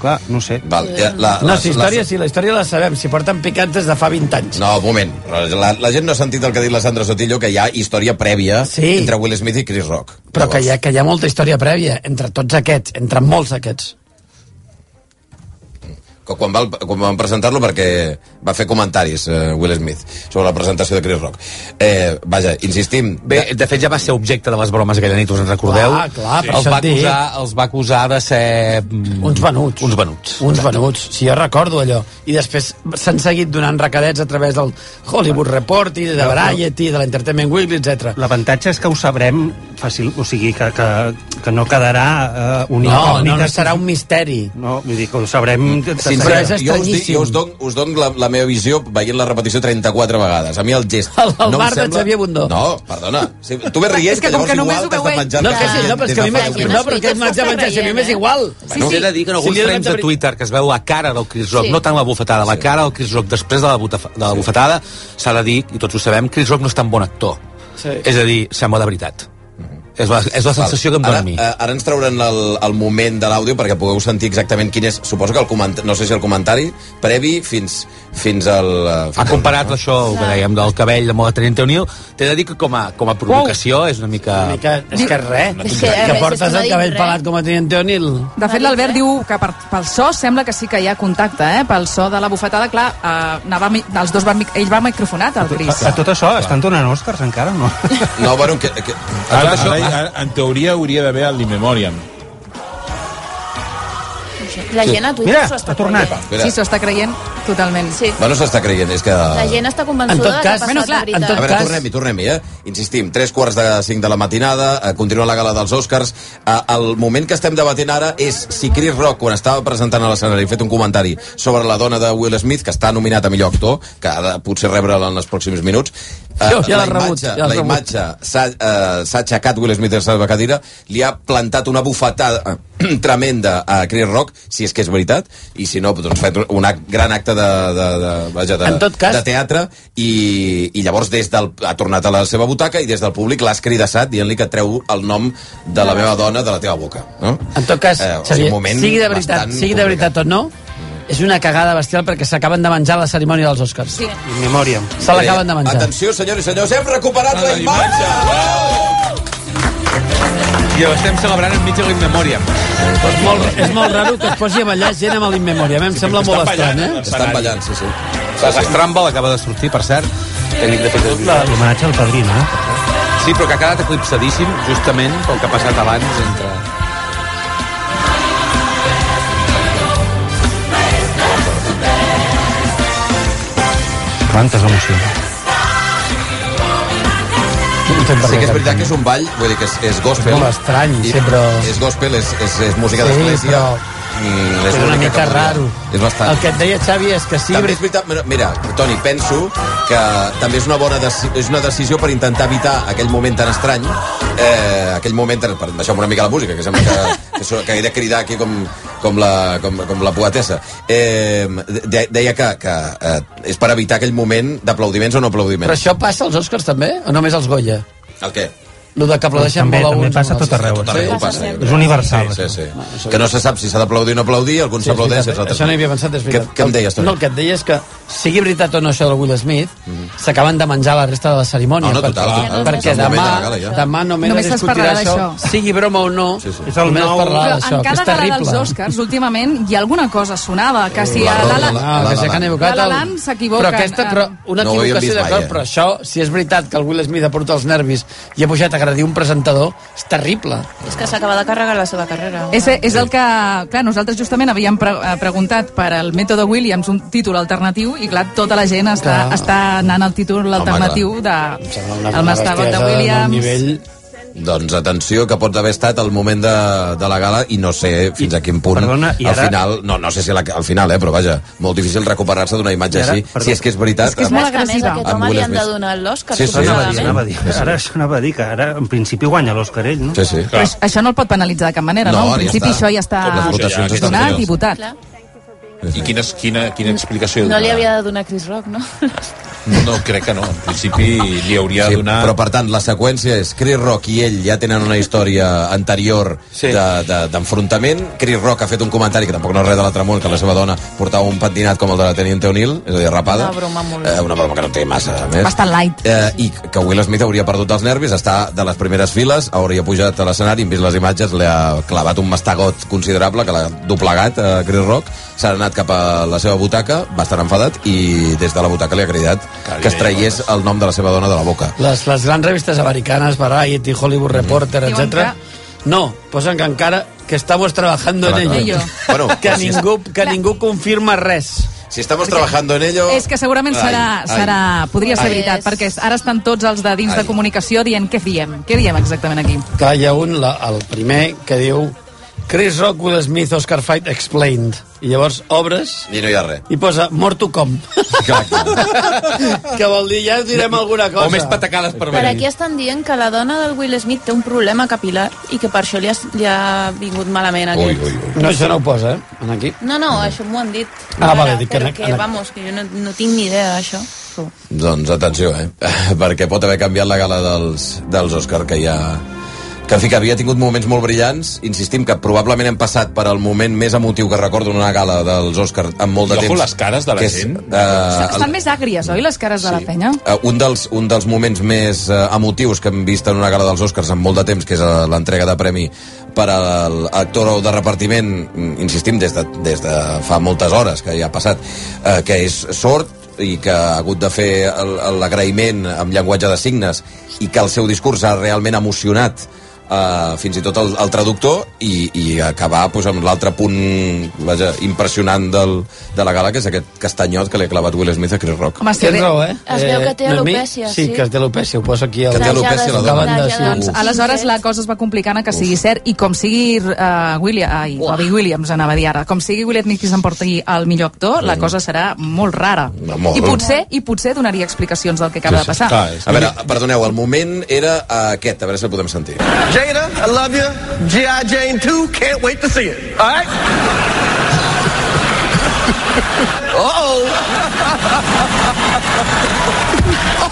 clar, no ho sé.
Val, ja, la,
No,
la-
si
la-
història, sí, la història la sabem. Si porten picat des de fa 20 anys.
No, un moment. La, la gent no ha sentit el que ha dit la Sandra Sotillo, que hi ha història prèvia
Sí.
entre Will Smith i Chris Rock.
Però que
Llavors-
hi, ha, que hi ha molta història prèvia entre tots aquests, entre molts aquests.
que quan, va, quan van presentar-lo perquè va fer comentaris eh, Will Smith sobre la presentació de Chris Rock eh, vaja, insistim
Bé, de fet ja va ser objecte de les bromes aquella nit, us en recordeu?
Clar, Ah, clar, per
els,
això
va
et dic.
acusar, els va acusar de ser... mm,
Uns venuts.
Uns venuts.
Uns venuts, si jo recordo allò. I després s'han seguit donant recadets a través del Hollywood Report i de
No, no.
Variety, de l'Entertainment Weekly, etc.
L'avantatge és que ho sabrem fàcil, o sigui, que, que, que no quedarà eh, una
No, no,
incògnita.
no serà un misteri.
No, vull dir que ho sabrem...
Però
Sincerament,
és
jo us, dic,
estranyíssim.
jo us don, us don la, la meva visió veient la repetició 34 vegades. A mi el gest...
El- el bar de Xavier Bundó.
No, perdona. Sí, tu
[LAUGHS]
ve rient,
És que com
llavors
que només
igual
ho
t'has de
veieu-
menjar...
No, que sí, no, però és que a mi
fa
m'és...
deu
No, però que m'haig de
minuts.
menjar, si a mi m'és igual.
Bueno, sí, sí. He de dir que en alguns
Si li
sí,
he
trens de
donat-
Twitter que es veu la cara del Chris Rock,
Sí.
sí. no tant la bufetada, la cara del Chris Rock després de la, butafa, de la sí. bufetada, s'ha de dir, i tots ho sabem, Chris Rock no és tan bon actor.
Sí.
És a dir, sembla de veritat. És la, és la sensació que em dona a
ara,
mi.
eh, Ara ens trauran el, el moment de l'àudio perquè pugueu sentir exactament quin és... Suposo que el comentari... No sé si el comentari previ fins, fins al... eh,
Ha
Fins
comparat això que dèiem del cabell de moda Teniente O'Neill. T'he de dir que com a, com a provocació és una mica...
Ah.
Una
mica... És que res.
És que,
que, que
eh,
portes
és que no
el
dic
cabell
res.
pelat com a Teniente O'Neill.
De fet, l'Albert diu que per, pel so sembla que sí que hi ha contacte, eh? Pel so de la bufetada, clar, eh, anava, mi- els dos van, mic- ell va microfonat, el Cris.
A tot això estan donant Oscars encara o no?
No, bueno, que... que...
Ara, ara, ara, en teoria hauria d'haver el Memoriam.
La
Sí.
gent a Twitter
Mira,
s'ho està
ha tornat.
creient.
Espera.
Sí, s'ho està creient totalment. Sí.
Bueno, s'està creient, és que...
La gent està
En tot
convençuda de que ha
cas-
passat
Bueno, clar,
de
en
veritat.
A veure, tornem-hi, tornem-hi, eh? Insistim, tres quarts de cinc de la matinada, eh, continua la gala dels Oscars. Eh, el moment que estem debatent ara és si Chris Rock, quan estava presentant a l'escenari, ha fet un comentari sobre la dona de Will Smith, que està nominat a millor actor, que ha de potser rebre'l en els pròxims minuts. eh,
Jo ja l'he
la
rebut,
imatge,
ja l'he
la
rebut.
imatge s'ha eh, s'ha aixecat Will Smith de la seva cadira, li ha plantat una bufetada eh, [CLEARS THROAT] tremenda a Chris Rock, si és que és veritat, i si no, doncs fet un act, gran acte de, de, de, vaja, de,
En tot cas-
de teatre i, i llavors des del, ha tornat a la seva butaca i des del públic l'has cridassat dient-li que treu el nom de la meva dona de la teva boca. No?
En tot cas,
Eh, o sigui,
Xavier,
un moment
sigui de veritat,
bastant
sigui de veritat o no, és una cagada bestial perquè s'acaben de menjar la cerimònia dels Oscars. Sí.
In memoriam.
Se l'acaben de menjar.
Atenció, senyors i senyors, hem recuperat la imatge!
I ho estem celebrant enmig de l'Inmemoriam.
És molt, és molt raro que es posi a ballar gent amb l'Inmemoria. Em sembla molt estrany, eh?
Estan ballant, sí, sí.
L'estrambal acaba de sortir, per cert, tècnic de fet
L'homenatge al padrí,
eh?
no?
Sí, però que ha quedat eclipsadíssim justament pel que ha passat abans entre...
Quantes emocions.
Sí que és veritat que és un ball, vull dir que és, és gospel.
És molt estrany, sí, però-
És gospel, és, és, és música
Sí,
d'església.
però-
Mm,
és una
l'única
mica
que podria-
raro.
És bastant.
El que et deia Xavi és que sí...
també és veritat, mira, mira, Toni, penso que també és una bona deci és una decisió per intentar evitar aquell moment tan estrany, eh, aquell moment, tan, per deixar una mica la música, que sembla que, que, so- que he de cridar aquí com, com, la, com, com la poetessa. Eh, de, deia que, que eh, és per evitar aquell moment d'aplaudiments o no aplaudiments.
Però això passa als Oscars també? O només als Goya?
El què?
Lo de que aplaudeixen
També-
molt a
també
uns.
passa
o uns
a tot arreu,
altres.
Tot arreu
Sí?
passa, jo crec.
És universal,
Sí, sí, sí. Que no se sap si s'ha d'aplaudir o no aplaudir, alguns
Sí, és
s'aplaudeixen,
veritat,
els altres
Això no hi havia pensat, és
Què,
veritat.
què em deies, eh? Toni?
No, el que et deia és que, sigui veritat o no això del Will Smith, s'acaben de menjar la resta de la
Mhm.
cerimònia.
Ah, No, no, total,
perquè,
total.
perquè
És el moment
demà,
de la gala, ja.
demà només,
Només
només
es
discutirà
parlarà
això,
d'això.
sigui broma o no, sí, sí. només es parlarà
Però
d'això,
en
que
cada
és
gala
terrible.
dels Oscars, últimament, hi ha alguna cosa sonada, que si a la, la,
Ah, que s'han equivocat.
La
el-
La Land s'equivoquen.
Però aquesta, però una
No ho havíem
equivocació
vist mai,
d'acord,
eh?
però això, si és veritat que el Will Smith ha portat els nervis i ha pujat a agredir un presentador, és terrible.
És que s'acaba de carregar la seva carrera.
És, és el que, clar, nosaltres justament havíem pre eh, preguntat per al mètode Williams un títol alternatiu i clar, tota la gent està,
Clar.
està anant al títol alternatiu de,
una-
el
una
Mastabat de
bestiesa d'un
Williams.
nivell
Doncs atenció, que pot haver estat el moment de, de la gala i no sé fins a quin punt
perdona, i ara-
al final, no, no sé si la, al final, eh, però vaja, molt difícil recuperar-se d'una imatge
I ara,
així,
perdó.
si és que és veritat.
És que és molt agressiva. A més, aquest
Amb
home
Will
li han de
Smith.
donar l'Òscar,
Sí, sí,
Això anava a dir,
suposadament.
anava a dir. Ara això anava a dir, que ara en principi guanya l'Òscar ell, no?
Sí, sí.
Però això- això no el pot penalitzar de cap manera, no?
No,
En
ja
principi
està.
això ja està Ah,
Com les votacions estan
donat
fetes.
i votat.
Clar.
I quina, quina, quina explicació
No li
donarà?
havia de donar Chris Rock, no?
No, crec que no. En principi li hauria
Sí,
de donar...
però per tant, la seqüència és Chris Rock i ell ja tenen una història anterior sí. d'enfrontament. De, Chris Rock ha fet un comentari que tampoc no és res de l'altre món, que la seva dona portava un pentinat com el de la Teniente O'Neill, és a dir, rapada.
Una broma molt-
Eh, una broma que no té massa, a més.
Bastant light.
Eh, I que Will Smith hauria perdut els nervis, està de les primeres files, hauria pujat a l'escenari, hem vist les imatges, li ha clavat un mastegot considerable que l'ha doblegat a Chris Rock, s'ha anat cap a la seva butaca, bastant enfadat, i des de la butaca li ha cridat que es traiés el nom de la seva dona de la boca.
Les, les grans revistes americanes, Variety, Hollywood
Mhm.
Reporter,
Diuen
etc. No, posen que encara que estamos trabajando en
Trabajando.
ello. [LAUGHS]
Bueno,
que
però si
ningú, que ningú confirma res.
Si estamos trabajando en ello...
És que segurament serà,
Ai, ai.
serà podria ser
Ai.
veritat, perquè ara estan tots els de dins
Ai.
de comunicació dient què diem, què diem exactament aquí.
Que hi ha un, la, el primer, que diu Chris Rock, Will Smith, Oscar Fight, Explained. I llavors obres
I no hi ha res.
i posa morto com. [LAUGHS] que vol dir ja [LAUGHS] direm alguna cosa.
O més patacades per
Per
venir.
aquí estan dient que la dona del Will Smith té un problema capilar i que per això li ha, li ha vingut malament
Ui,
aquest.
ui, ui.
No, això no ho posa, eh? Aquí.
No, no, això m'ho han dit.
Ah,
Ara,
vale, dic que
però
en-
que,
en-
vamos, que jo no, no tinc ni idea d'això.
[LAUGHS] Doncs atenció, eh? Perquè pot haver canviat la gala dels, dels Òscar, que ja que en fi, que havia tingut moments molt brillants. Insistim que probablement hem passat per al moment més emotiu que recordo en una gala dels Oscars amb molt de
I ojo
temps.
les cares de la
que és,
gent.
eh, el-
Estan més àgries, oi, les cares de la penya?
Eh, un, dels, un dels moments més eh, emotius que hem vist en una gala dels Oscars en molt de temps, que és eh, l'entrega de premi per a l'actor de repartiment, mm, insistim, des de, des de fa moltes hores que ja ha passat, eh, que és sort i que ha hagut de fer el- l'agraïment amb llenguatge de signes i que el seu discurs ha realment emocionat Uh, fins i tot el, el traductor i, i acabar pues, amb l'altre punt vaja, impressionant del, de la gala que és aquest castanyot que li ha clavat Will Smith a Chris Rock
Home, sí,
Tens raó, eh?
Es veu que té
Eh, Noemí?
alopècia,
Sí,
sí.
que té alopècia, ho poso aquí. al-
Que té alopècia la dona.
Acaben de- sí.
Doncs, aleshores la cosa es va complicant a que sigui cert i com sigui uh, William, ai, Robbie Williams anava a dir ara, com sigui William Smith qui s'emporti el millor actor, la cosa serà molt rara.
molt.
I potser i potser donaria explicacions del que acaba de passar.
A veure, perdoneu, el moment era eh, aquest, a veure si el podem sentir.
Jada, I love you. G.I. Jane 2, can't wait to see it. All right? oh.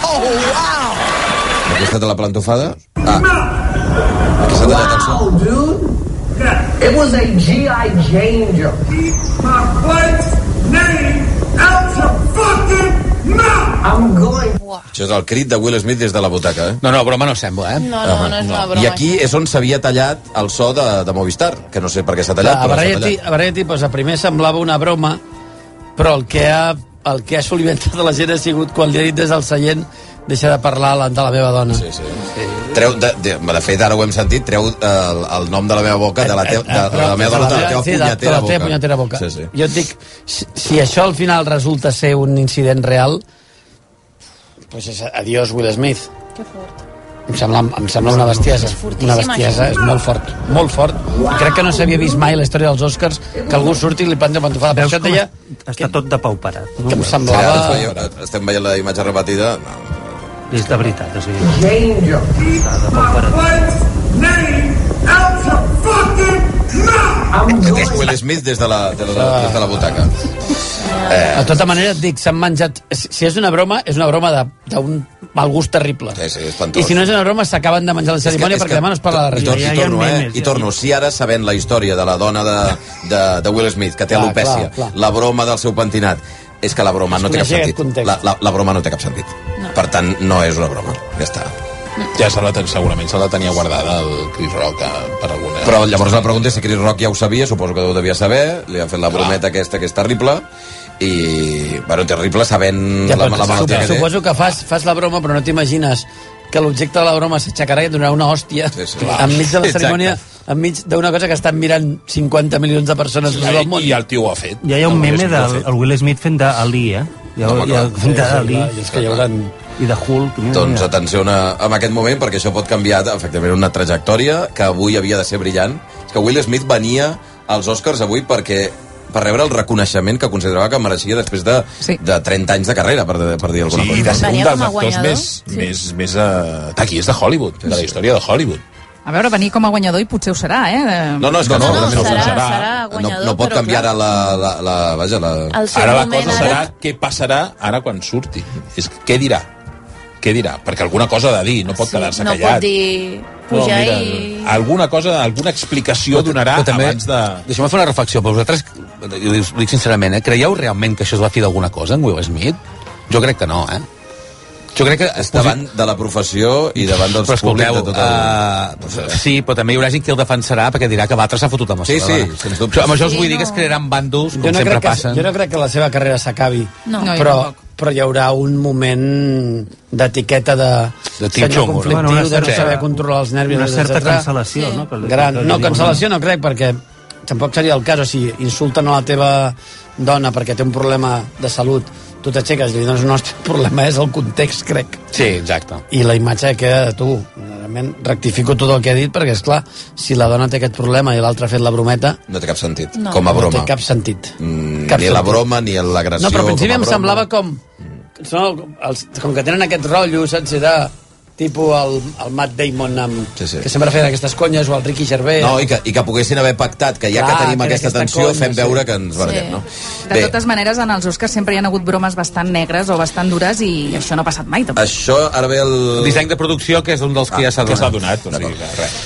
oh, wow.
Aquesta de la plantofada. Ah. Aquí s'ha tallat el so.
Wow, dude. It was a G.I. Jane joke. Keep my wife's name out your fucking mouth. I'm going.
Això és el crit de Will Smith des de la butaca, eh? Ah,
No, no, broma no sembla, eh?
No, no, no és una broma.
I aquí és on s'havia tallat el so de, de Movistar, que no sé per què s'ha tallat,
a
però s'ha
Barretti,
tallat.
a Barretti doncs, a primer semblava una broma, però el que ha, el que ha solimentat a la gent ha sigut quan li ha dit des del seient deixar de parlar a la- de la meva dona. Sí,
sí. Treu, de, de, de fet, ara ho hem sentit, treu eh, el, el nom de la meva boca, de la, te, de, de la meva dona, eh, de la teva
Eh, sí, de- de
punyetera
la teva
boca.
punyetera boca.
Sí, sí.
Jo et dic, si, si això al final resulta ser un incident real, doncs és adiós Will Smith.
Que fort.
Em sembla, em sembla una bestiesa. Una bestiesa, és molt fort, molt fort. I crec que no s'havia vist mai a la història dels Oscars que algú surti i li planta pantofada. Per això et deia... Està tot de pau parat. Que em
Ara ens
semblava...
veieu- eh, Estem veient la imatge repetida. No.
És de veritat, o sigui...
Jane joke. Keep my wife's name out your fucking mouth. I'm
Aquest és Will Smith des de la, de la, des de la butaca.
De tota manera, et dic, s'han menjat... Si si és una broma, és una broma de- d'un mal gust terrible.
Sí, sí, espantós.
I si no és una broma, s'acaben de menjar la cerimònia perquè demà no es parla de
I, tor
res.
i torno, eh? I torno. Si ara sabent la història de la dona de, de, de Will Smith, que té
Clar,
alopècia,
clar, clar.
la broma del seu pentinat, és que la broma no té cap
coneixia aquest
sentit. La, la, la broma no té cap sentit. No. Per tant, no és una broma. Ja està.
Ja se la ten, segurament se la tenia guardada el Chris Rock eh, per alguna...
Però llavors la pregunta és si Chris Rock ja ho sabia, suposo que ho devia saber, li ha fet la brometa aquesta que és terrible, i, bueno, terrible sabent
Ja,
Mm, la,
però
la malaltia
suposo,
que té.
suposo que fas, fas la broma, però no t'imagines que l'objecte de la broma s'aixecarà i et donarà una hòstia sí, sí, enmig de la
Exacte.
cerimònia, enmig d'una cosa que estan mirant 50 milions de persones sí, del món.
I el tio ho ha fet.
Ja hi ha un
El Will
meme
Smith ho ha
del
fet.
el Will Smith fent d'Ali, eh? Hi ha,
Home,
hi ha
clar.
fent d'Ali
és que hi haurà...
i de Hulk. Mira,
Doncs
mira.
atenció una, en aquest moment, perquè això pot canviar efectivament una trajectòria que avui havia de ser brillant. És que Will Smith venia als Oscars avui perquè per rebre el reconeixement que considerava que mereixia després de, sí. de 30 anys de carrera, per, per dir alguna
Sí,
cosa.
i de ser un
Venia
dels
com a
actors
guanyador,
més,
sí.
més, més eh, taquis de Hollywood, de la història de Hollywood.
A veure, venir com a guanyador i potser ho serà, eh? De-
No, no, és que
No, no,
segurament
serà-
ho
serà guanyador,
no, no pot
però
canviar
clar.
ara la, la, la, vaja, la...
El seu
Ara la
moment,
cosa
ara-
serà què passarà ara quan surti. És que què dirà? Què dirà? Perquè alguna cosa ha de dir, no pot quedar-se
no pot
callat.
dir pujar no, i...
Alguna cosa, alguna explicació
Però-
donarà
però també-
abans de...
Deixeu-me fer una reflexió, però vosaltres, i ho dic sincerament, eh, creieu realment que això es va fer d'alguna cosa, en Will Smith? Jo crec que no, eh? Jo crec que...
És davant de la professió i davant dels
però escolteu,
públics de tot el...
eh, sí, però també hi haurà gent que el defensarà perquè dirà que l'altre s'ha fotut amb la
Sí,
seva
sí,
dona.
sens dubte.
Això- Amb això us
Sí,
vull dir
no.
que es crearan bàndols, com
Jo no,
sempre
crec que,
passen.
jo no crec que la seva carrera s'acabi,
No. No, jo
però,
tampoc.
però hi haurà un moment d'etiqueta de,
De tio
senyor
xungo, no?
conflictiu,
Bueno, una
de no
certa-
saber controlar els nervis,
una certa
etcètera.
cancel·lació, no? Que li-
Gran,
que li
no,
diuen-
cancel·lació no crec, perquè tampoc seria el cas. O sigui, insulten a la teva dona perquè té un problema de salut, tu t'aixeques i li dones un nostre [LAUGHS] problema, és el context, crec.
Sí, exacte.
I la imatge que queda de tu. Realment, rectifico tot el que he dit, perquè, és clar si la dona té aquest problema i l'altra ha fet la brometa...
No té cap sentit,
No.
com a broma.
No té cap sentit.
Mm,
cap
ni la
sentit.
broma, ni l'agressió.
No, però al principi
com a
em
broma. Mm.
semblava com... No, els, com que tenen aquest rotllo, saps, de tipus el, el Matt Damon amb, sí, sí. que sempre feien aquestes conyes o el Ricky Gervais
No, i que, i que poguessin haver pactat, que ja
Clar,
que tenim
que era
aquesta
aquesta
tensió,
conya,
fem
sí.
veure que ens barallem,
Sí.
no?
De totes maneres, en els Oscars sempre hi ha hagut bromes bastant negres o bastant dures i això no ha passat mai, tampoc.
això ara ve el... Ah,
El disseny de producció, que és un dels que ja s'ha
que
donat.
s'ha donat, o sigui, que res.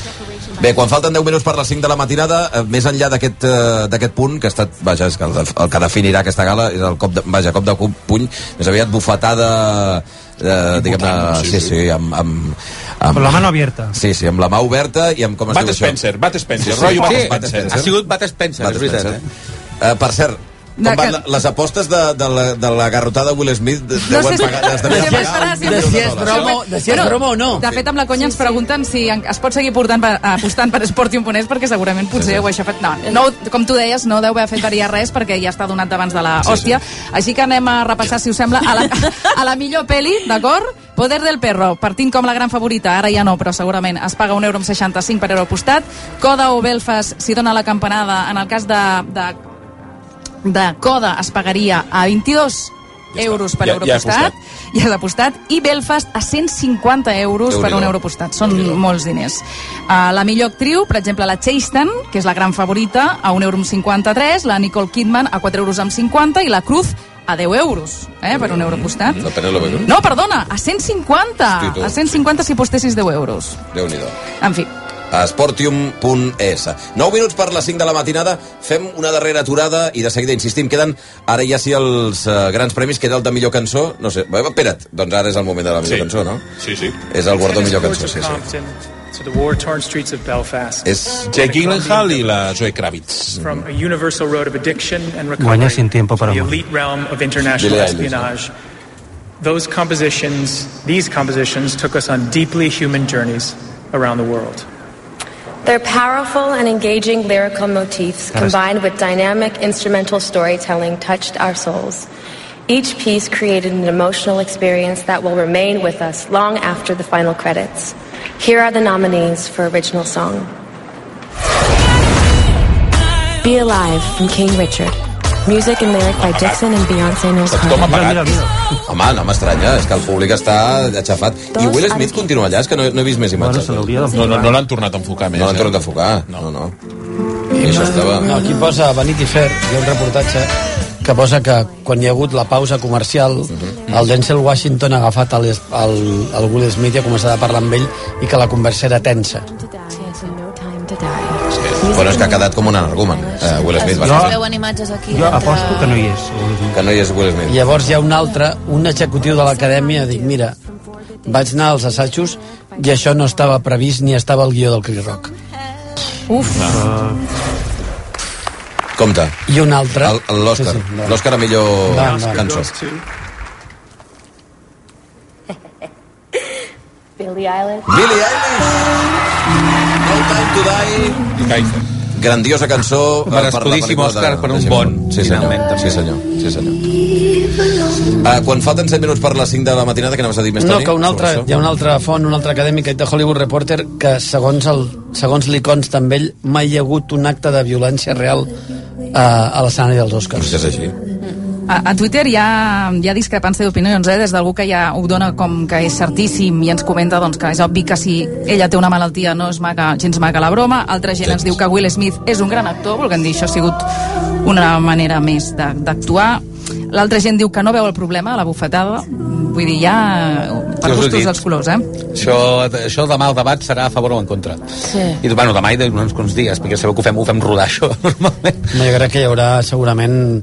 Bé, quan falten 10 minuts per les 5 de la matinada, eh, més enllà d'aquest eh, d'aquest punt, que ha estat, vaja, és que el, de- el que definirà aquesta gala és el cop de, vaja, cop de cu- puny, més aviat bufetada, eh, diguem-ne, sí, sí, sí, amb, amb, amb...
Amb la mano abierta.
Sí, sí, amb la mà oberta i amb com es
Bat
diu això?
Spencer, Bat Spencer, rotllo Bat Spencer. Ha sigut
Bat Spencer,
és veritat,
Eh? per cert, com
De
van
que-
la- les apostes de, de, la, de la garrotada de Will Smith de,
No
deuen
sé si-
pagar, les
no
devien
sé
pagar
si-
un
de
milió
si és
tota
dòlars.
broma o- de si és Bueno, broma o no. De fet, amb la conya ens pregunten si en- es pot seguir portant per, apostant per Esportium Ponés perquè segurament potser ho ha aixafat. No, no, com tu deies, no deu haver fet variar res perquè ja està donat d'abans de la hòstia. Així que anem a repassar, si us sembla, a la, a la millor peli, d'acord? Poder del perro, partint com la gran favorita, ara ja no, però segurament es paga un euro amb 65 per euro apostat. Coda o Belfast s'hi dona la campanada. En el cas de, de, de Coda es pagaria a 22 euros per
Ja-
euro
ja he
apostat i has apostat, i Belfast a 150 euros
Déu-n'hi-do.
per un euro apostat. Són molts diners. Uh, la millor actriu, per exemple, la Chastain, que és la gran favorita, a 1 euro amb 53, la Nicole Kidman a 4 euros amb 50 i la Cruz a 10 euros, eh, per un euro apostat.
La Penélope Cruz.
No, perdona, a 150!
Mm. Hosti, tu.
A 150 si apostessis 10 euros.
Déu-n'hi-do.
En fi,
a sportium.es. 9 minuts per les 5 de la matinada, fem una darrera aturada i de seguida insistim, queden ara ja sí els eh, grans premis, queda el de millor cançó, no sé, bé, espera't, doncs ara és el moment de la millor
Sí.
cançó, no?
Sí, sí.
És el guardó millor cançó, sí, sí.
To the war-torn streets of Belfast.
És
Jake Gyllenhaal i la Zoe Kravitz.
From a universal road of addiction and
Guanya
recovery
sin tiempo
to
para
the
morir.
elite realm of international
Billie Eilish.
espionage. Those compositions, these compositions, took us on deeply human journeys around the world.
Their powerful and engaging lyrical motifs,
That is-
combined with dynamic instrumental storytelling, touched our souls. Each piece created an emotional experience that will remain with us long after the final credits. Here are the nominees for original song Be Alive from King Richard. Music and lyric by Dixon and Beyonce
Tothom
Knowles.
apagat. Home, no m'estranya, és que el públic està aixafat. I Will Smith continua allà, és que no, no he vist més imatges.
No, no, no l'han tornat a enfocar més.
No l'han
eh?
tornat a enfocar, no, no.
I això estava...
No, aquí posa Vanity Fair, hi ha un reportatge que posa que quan hi ha hagut la pausa comercial,
Mhm.
el Denzel Washington ha agafat el, el, el Will Smith i ha començat a parlar amb ell i que la conversa era tensa.
Bueno, és que ha quedat com un energumen, eh, Will Smith.
Es, es
Va,
veuen imatges aquí.
que no hi és. Que no hi és Will Smith.
Llavors hi ha un altre, un executiu de l'acadèmia, dic, mira, vaig anar als assajos i això no estava previst ni estava al guió del Cree Rock.
Uf.
Ah. Compte.
I un altre...
El- L'Òscar.
Sí, sí, va.
L'Òscar a millor
Va, va.
cançó.
Billie Eilish.
Billie Eilish. No Time to Die. Grandiosa cançó eh,
Merescudíssim
pel·lícula
Òscar per un
James
bon,
Bond. sí,
finalment,
senyor. Sí, senyor. Sí, senyor. Uh, quan falten 7 minuts per les 5 de la matinada, que anaves a dir més,
No,
Toni?
que un altre,
Sobre això?
hi ha una altra font, un altre acadèmic de Hollywood Reporter que segons, el, segons li consta amb ell mai hi ha hagut un acte de violència real eh, a l'escenari dels Oscars.
És així.
A, a Twitter hi ha, hi ha discrepància d'opinions, eh? des d'algú que ja ho dona com que és certíssim i ens comenta doncs, que és obvi que si ella té una malaltia no és maca, gens maca la broma, altra gent ens diu que Will Smith és un gran actor, volguem dir, això ha sigut una manera més de- d'actuar. L'altra gent diu que no veu el problema, a la bufetada, vull dir, ja
Ja
per
us ho he
gustos
dit.
els colors, eh?
Això, això demà el debat serà a favor o en contra.
Sí.
I bueno, demà i d'uns quants dies, perquè sabeu que ho fem, ho fem rodar, això, normalment.
No, jo crec que hi haurà segurament eh,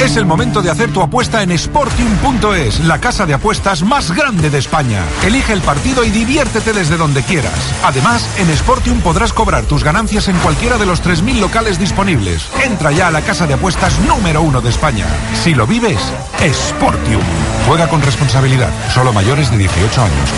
Es el momento de hacer tu apuesta en Sportium.es, la casa de apuestas más grande de España. Elige el partido y diviértete desde donde quieras. Además, en Sportium podrás cobrar tus ganancias en cualquiera de los 3.000 locales disponibles. Entra ya a la casa de apuestas número uno de España. Si lo vives, Sportium. Juega con responsabilidad, solo mayores de 18 años.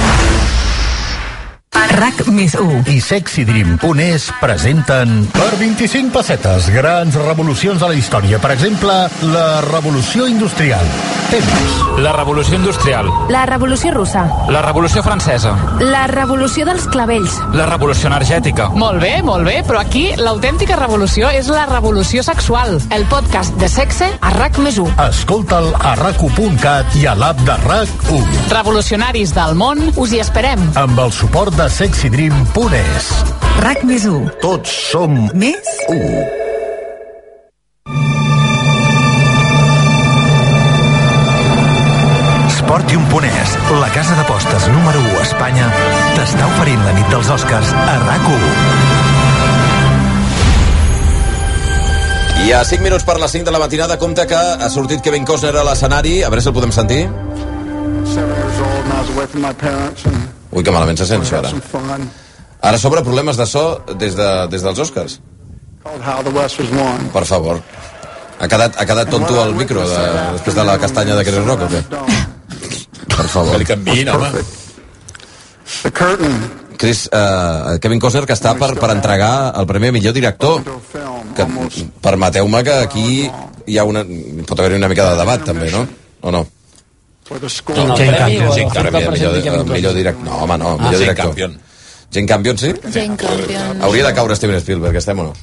RAC més 1
i sexydream.es presenten per 25 pessetes grans revolucions de la història. Per exemple, la revolució industrial. Temps.
La revolució industrial.
La revolució russa.
La revolució francesa.
La revolució dels clavells.
La revolució energètica.
Molt bé, molt bé, però aquí l'autèntica revolució és la revolució sexual. El podcast de sexe a RAC més 1.
Escolta'l a rac1.cat i a l'app de RAC1.
Revolucionaris del món, us hi esperem.
Amb el suport de sexydream.es.
RAC més 1
Tots som
Més
1.
Sportium Ponés, la casa d'apostes número 1 a Espanya, t'està oferint la nit dels Oscars a RAC1.
I a 5 minuts per les 5 de la matinada compta que ha sortit Kevin Costner a l'escenari. A veure si el podem sentir.
and I was away from my parents and
Ui, que malament se sent això ara.
some fun.
Ara sobre problemes de so des, de, des dels Oscars.
Called how the West was won.
Per favor. Ha quedat, ha quedat tonto el micro de, després de la castanya de Chris Rock o què? Per favor. Que li canviïn, home.
The curtain
Chris, uh, Kevin Costner que està per, per entregar el Premi a Millor Director que permeteu-me que aquí hi ha una, pot haver-hi una mica de debat també, no? O no?
for the score.
No, Jane Campion. Jane Campion, millor, eh, millor director. No, home, no, millor
Jane
director.
Campion.
Jane Campion, sí?
Jane Campion.
Hauria de caure Steven Spielberg, estem o no?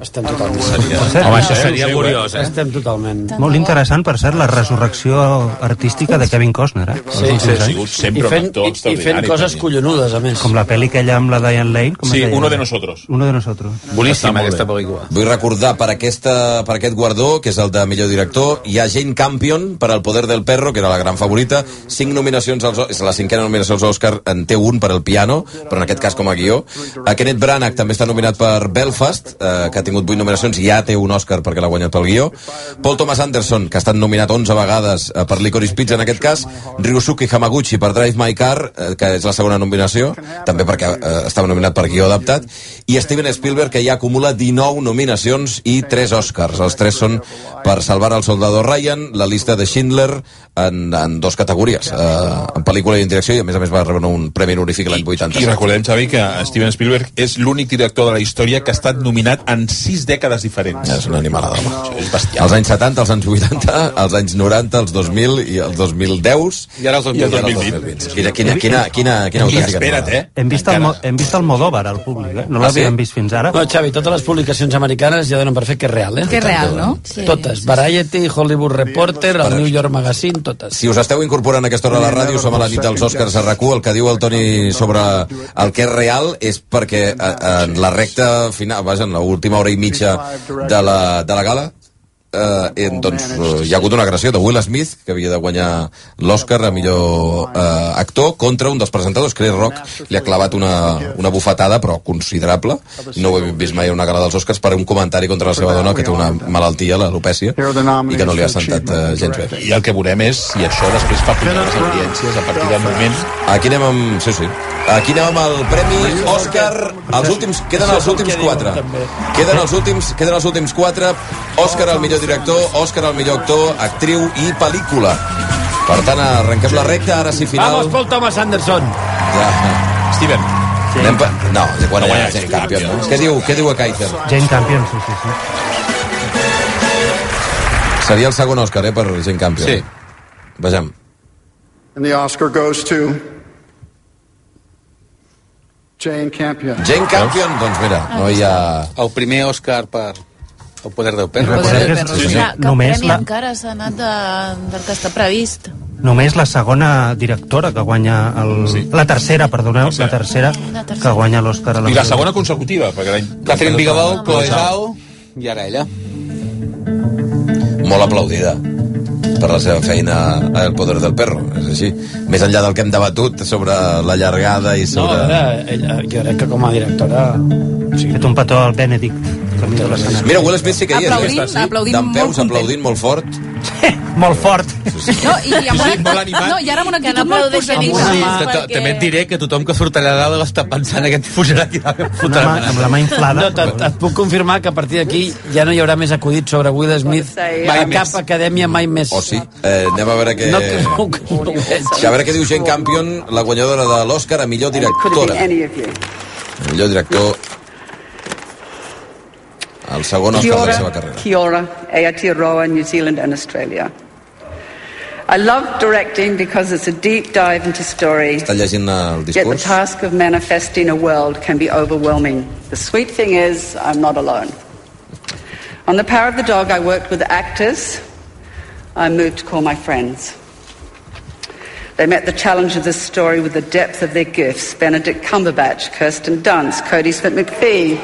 Estem totalment.
Home, això seria curiós, eh?
Estem totalment.
Molt interessant, per cert, la resurrecció artística de Kevin Costner, eh?
Sí, sí, ha sigut sempre I fent- un actor i- i fent extraordinari, coses també. collonudes, a més.
Com la pel·li aquella amb la Diane Lane. Com es
Sí,
deia?
Uno de Nosotros.
Uno de nosotros.
Està molt bé. Vull recordar per, aquesta, per aquest guardó, que és el de millor director, hi ha Jane Campion per El poder del perro, que era la gran favorita, cinc nominacions als, és la cinquena nominació als Oscar, en té un per El piano, però en aquest cas com a guió. A Kenneth Branagh també està nominat per Belfast, eh, que ha tingut vuit nominacions i ja té un Oscar perquè l'ha guanyat pel guió. Paul Thomas Anderson, que ha estat nominat 11 vegades eh, per Licorice Pizza en aquest cas, Ryusuke Hamaguchi per Drive My Car, eh, que és la segona nominació, també perquè eh, estava nominat per guió adaptat, i Steven Spielberg, que ja acumula 19 nominacions i 3 Oscars. Els 3 són per Salvar al soldado Ryan, la lista de Schindler, en, en dos categories, eh, en pel·lícula i en direcció, i a més a més va rebre un premi honorífic l'any 80.
I recordem, Xavi, que Steven Spielberg és l'únic director de la història que ha estat nominat en sis dècades diferents.
És una animalada, home. Això és bestial. Als anys 70, als anys 80, als anys 90, als 2000 i als 2010.
I ara els 2020.
I els 2020. Quina, quina, quina, quina, quina autèntica
eh?
animalada.
eh? Hem vist, el, Mo- hem vist el Modóvar al públic, eh? No
Ah,
l'havíem
sí?
vist fins ara.
No, Xavi, totes les publicacions americanes ja donen per fet que és real, eh?
Que és real, no?
Sí. Totes. Variety, Hollywood Reporter, el New York Magazine, totes.
Si us esteu incorporant a aquesta hora a la ràdio, som a la nit dels Oscars a RAC1, el que diu el Toni sobre el que és real és perquè eh, en la recta final, vaja, en l'última hora i mitja de la, de la gala, eh, en, doncs eh, hi ha hagut una agressió de Will Smith, que havia de guanyar l'Oscar a millor eh, actor, contra un dels presentadors, Chris Rock, li ha clavat una, una bufetada, però considerable, no ho hem vist mai a una gala dels Oscars, per un comentari contra la seva dona, que té una malaltia, l'alopècia, i que no li ha sentat eh, gens bé.
I el que veurem és si això després fa pujar les audiències a partir del moment...
Aquí anem amb... Sí, sí. Aquí anem amb el Premi Òscar. Els últims... Queden els últims quatre. Queden els últims, queden els últims quatre. Òscar al millor director, Òscar al millor actor, actriu i pel·lícula. Per tant, arrenquem la recta, ara sí final...
Vamos, Paul Thomas Anderson.
Ja. Steven. Sí. Anem per... No, bueno, ja, ja, ja, campion. No? Què diu, què diu a Kaiser?
Jane Campion, sí, sí, sí.
Seria el segon Òscar, eh, per gent campion. Sí. Vejam.
And the Oscar goes to Jane Campion.
Jane Campion, doncs mira, no hi ha...
El primer Òscar per El poder del perro.
El poder del perro, sí.
Clar, cap
Només
premi
la-
encara s'ha anat de, del que està previst.
Només la segona directora que guanya el... Sí. La tercera, perdoneu, la tercera, que guanya l'Òscar a la
I la segona consecutiva, perquè l'any...
Catherine Bigelow, Chloe Zhao i ara ella.
molt aplaudida per la seva feina a El poder del perro, és així. Més enllà del que hem debatut sobre la llargada i
No,
sobre...
era, ella, eh, jo crec que com a directora...
Sí. Fet un petó al Benedict. Camí de l'escenari.
Mira, Will Smith sí que hi és.
Aplaudint,
aquesta, sí?
aplaudint
D'en
molt
peus,
content.
aplaudint [LAUGHS] molt fort.
Molt fort.
No, i, i amb
Sí,
una,
molt animat.
no, i ara amb una
no
actitud molt
aplaudeixen
Amb
positiva.
una- ta- ta- També et diré que tothom que surt allà dalt està pensant que et pujarà aquí dalt. Fotrà una-
No, et, et puc confirmar que a partir d'aquí ja no hi haurà més acudits sobre Will Smith a
Mai
cap
més.
acadèmia mai Oh, més.
O sí? Eh, anem a veure què...
No, que no, que
[LAUGHS]
no ho veig.
A veure què diu Jane Campion, la guanyadora de l'Oscar a millor directora.
any of you.
Millor director... El segon Oscar de la seva
Kiora,
carrera.
Kiora, Aotearoa, New Zealand and Australia. I love directing because it's a deep dive into story.
Està llegint el
Yet the
discurs.
task of manifesting a world can be overwhelming. The sweet thing is, I'm not alone. On The Power of the Dog, I worked with actors. I moved to call my friends. They met the challenge of this story with the depth of their gifts. Benedict Cumberbatch, Kirsten Dunst, Cody Smith McPhee,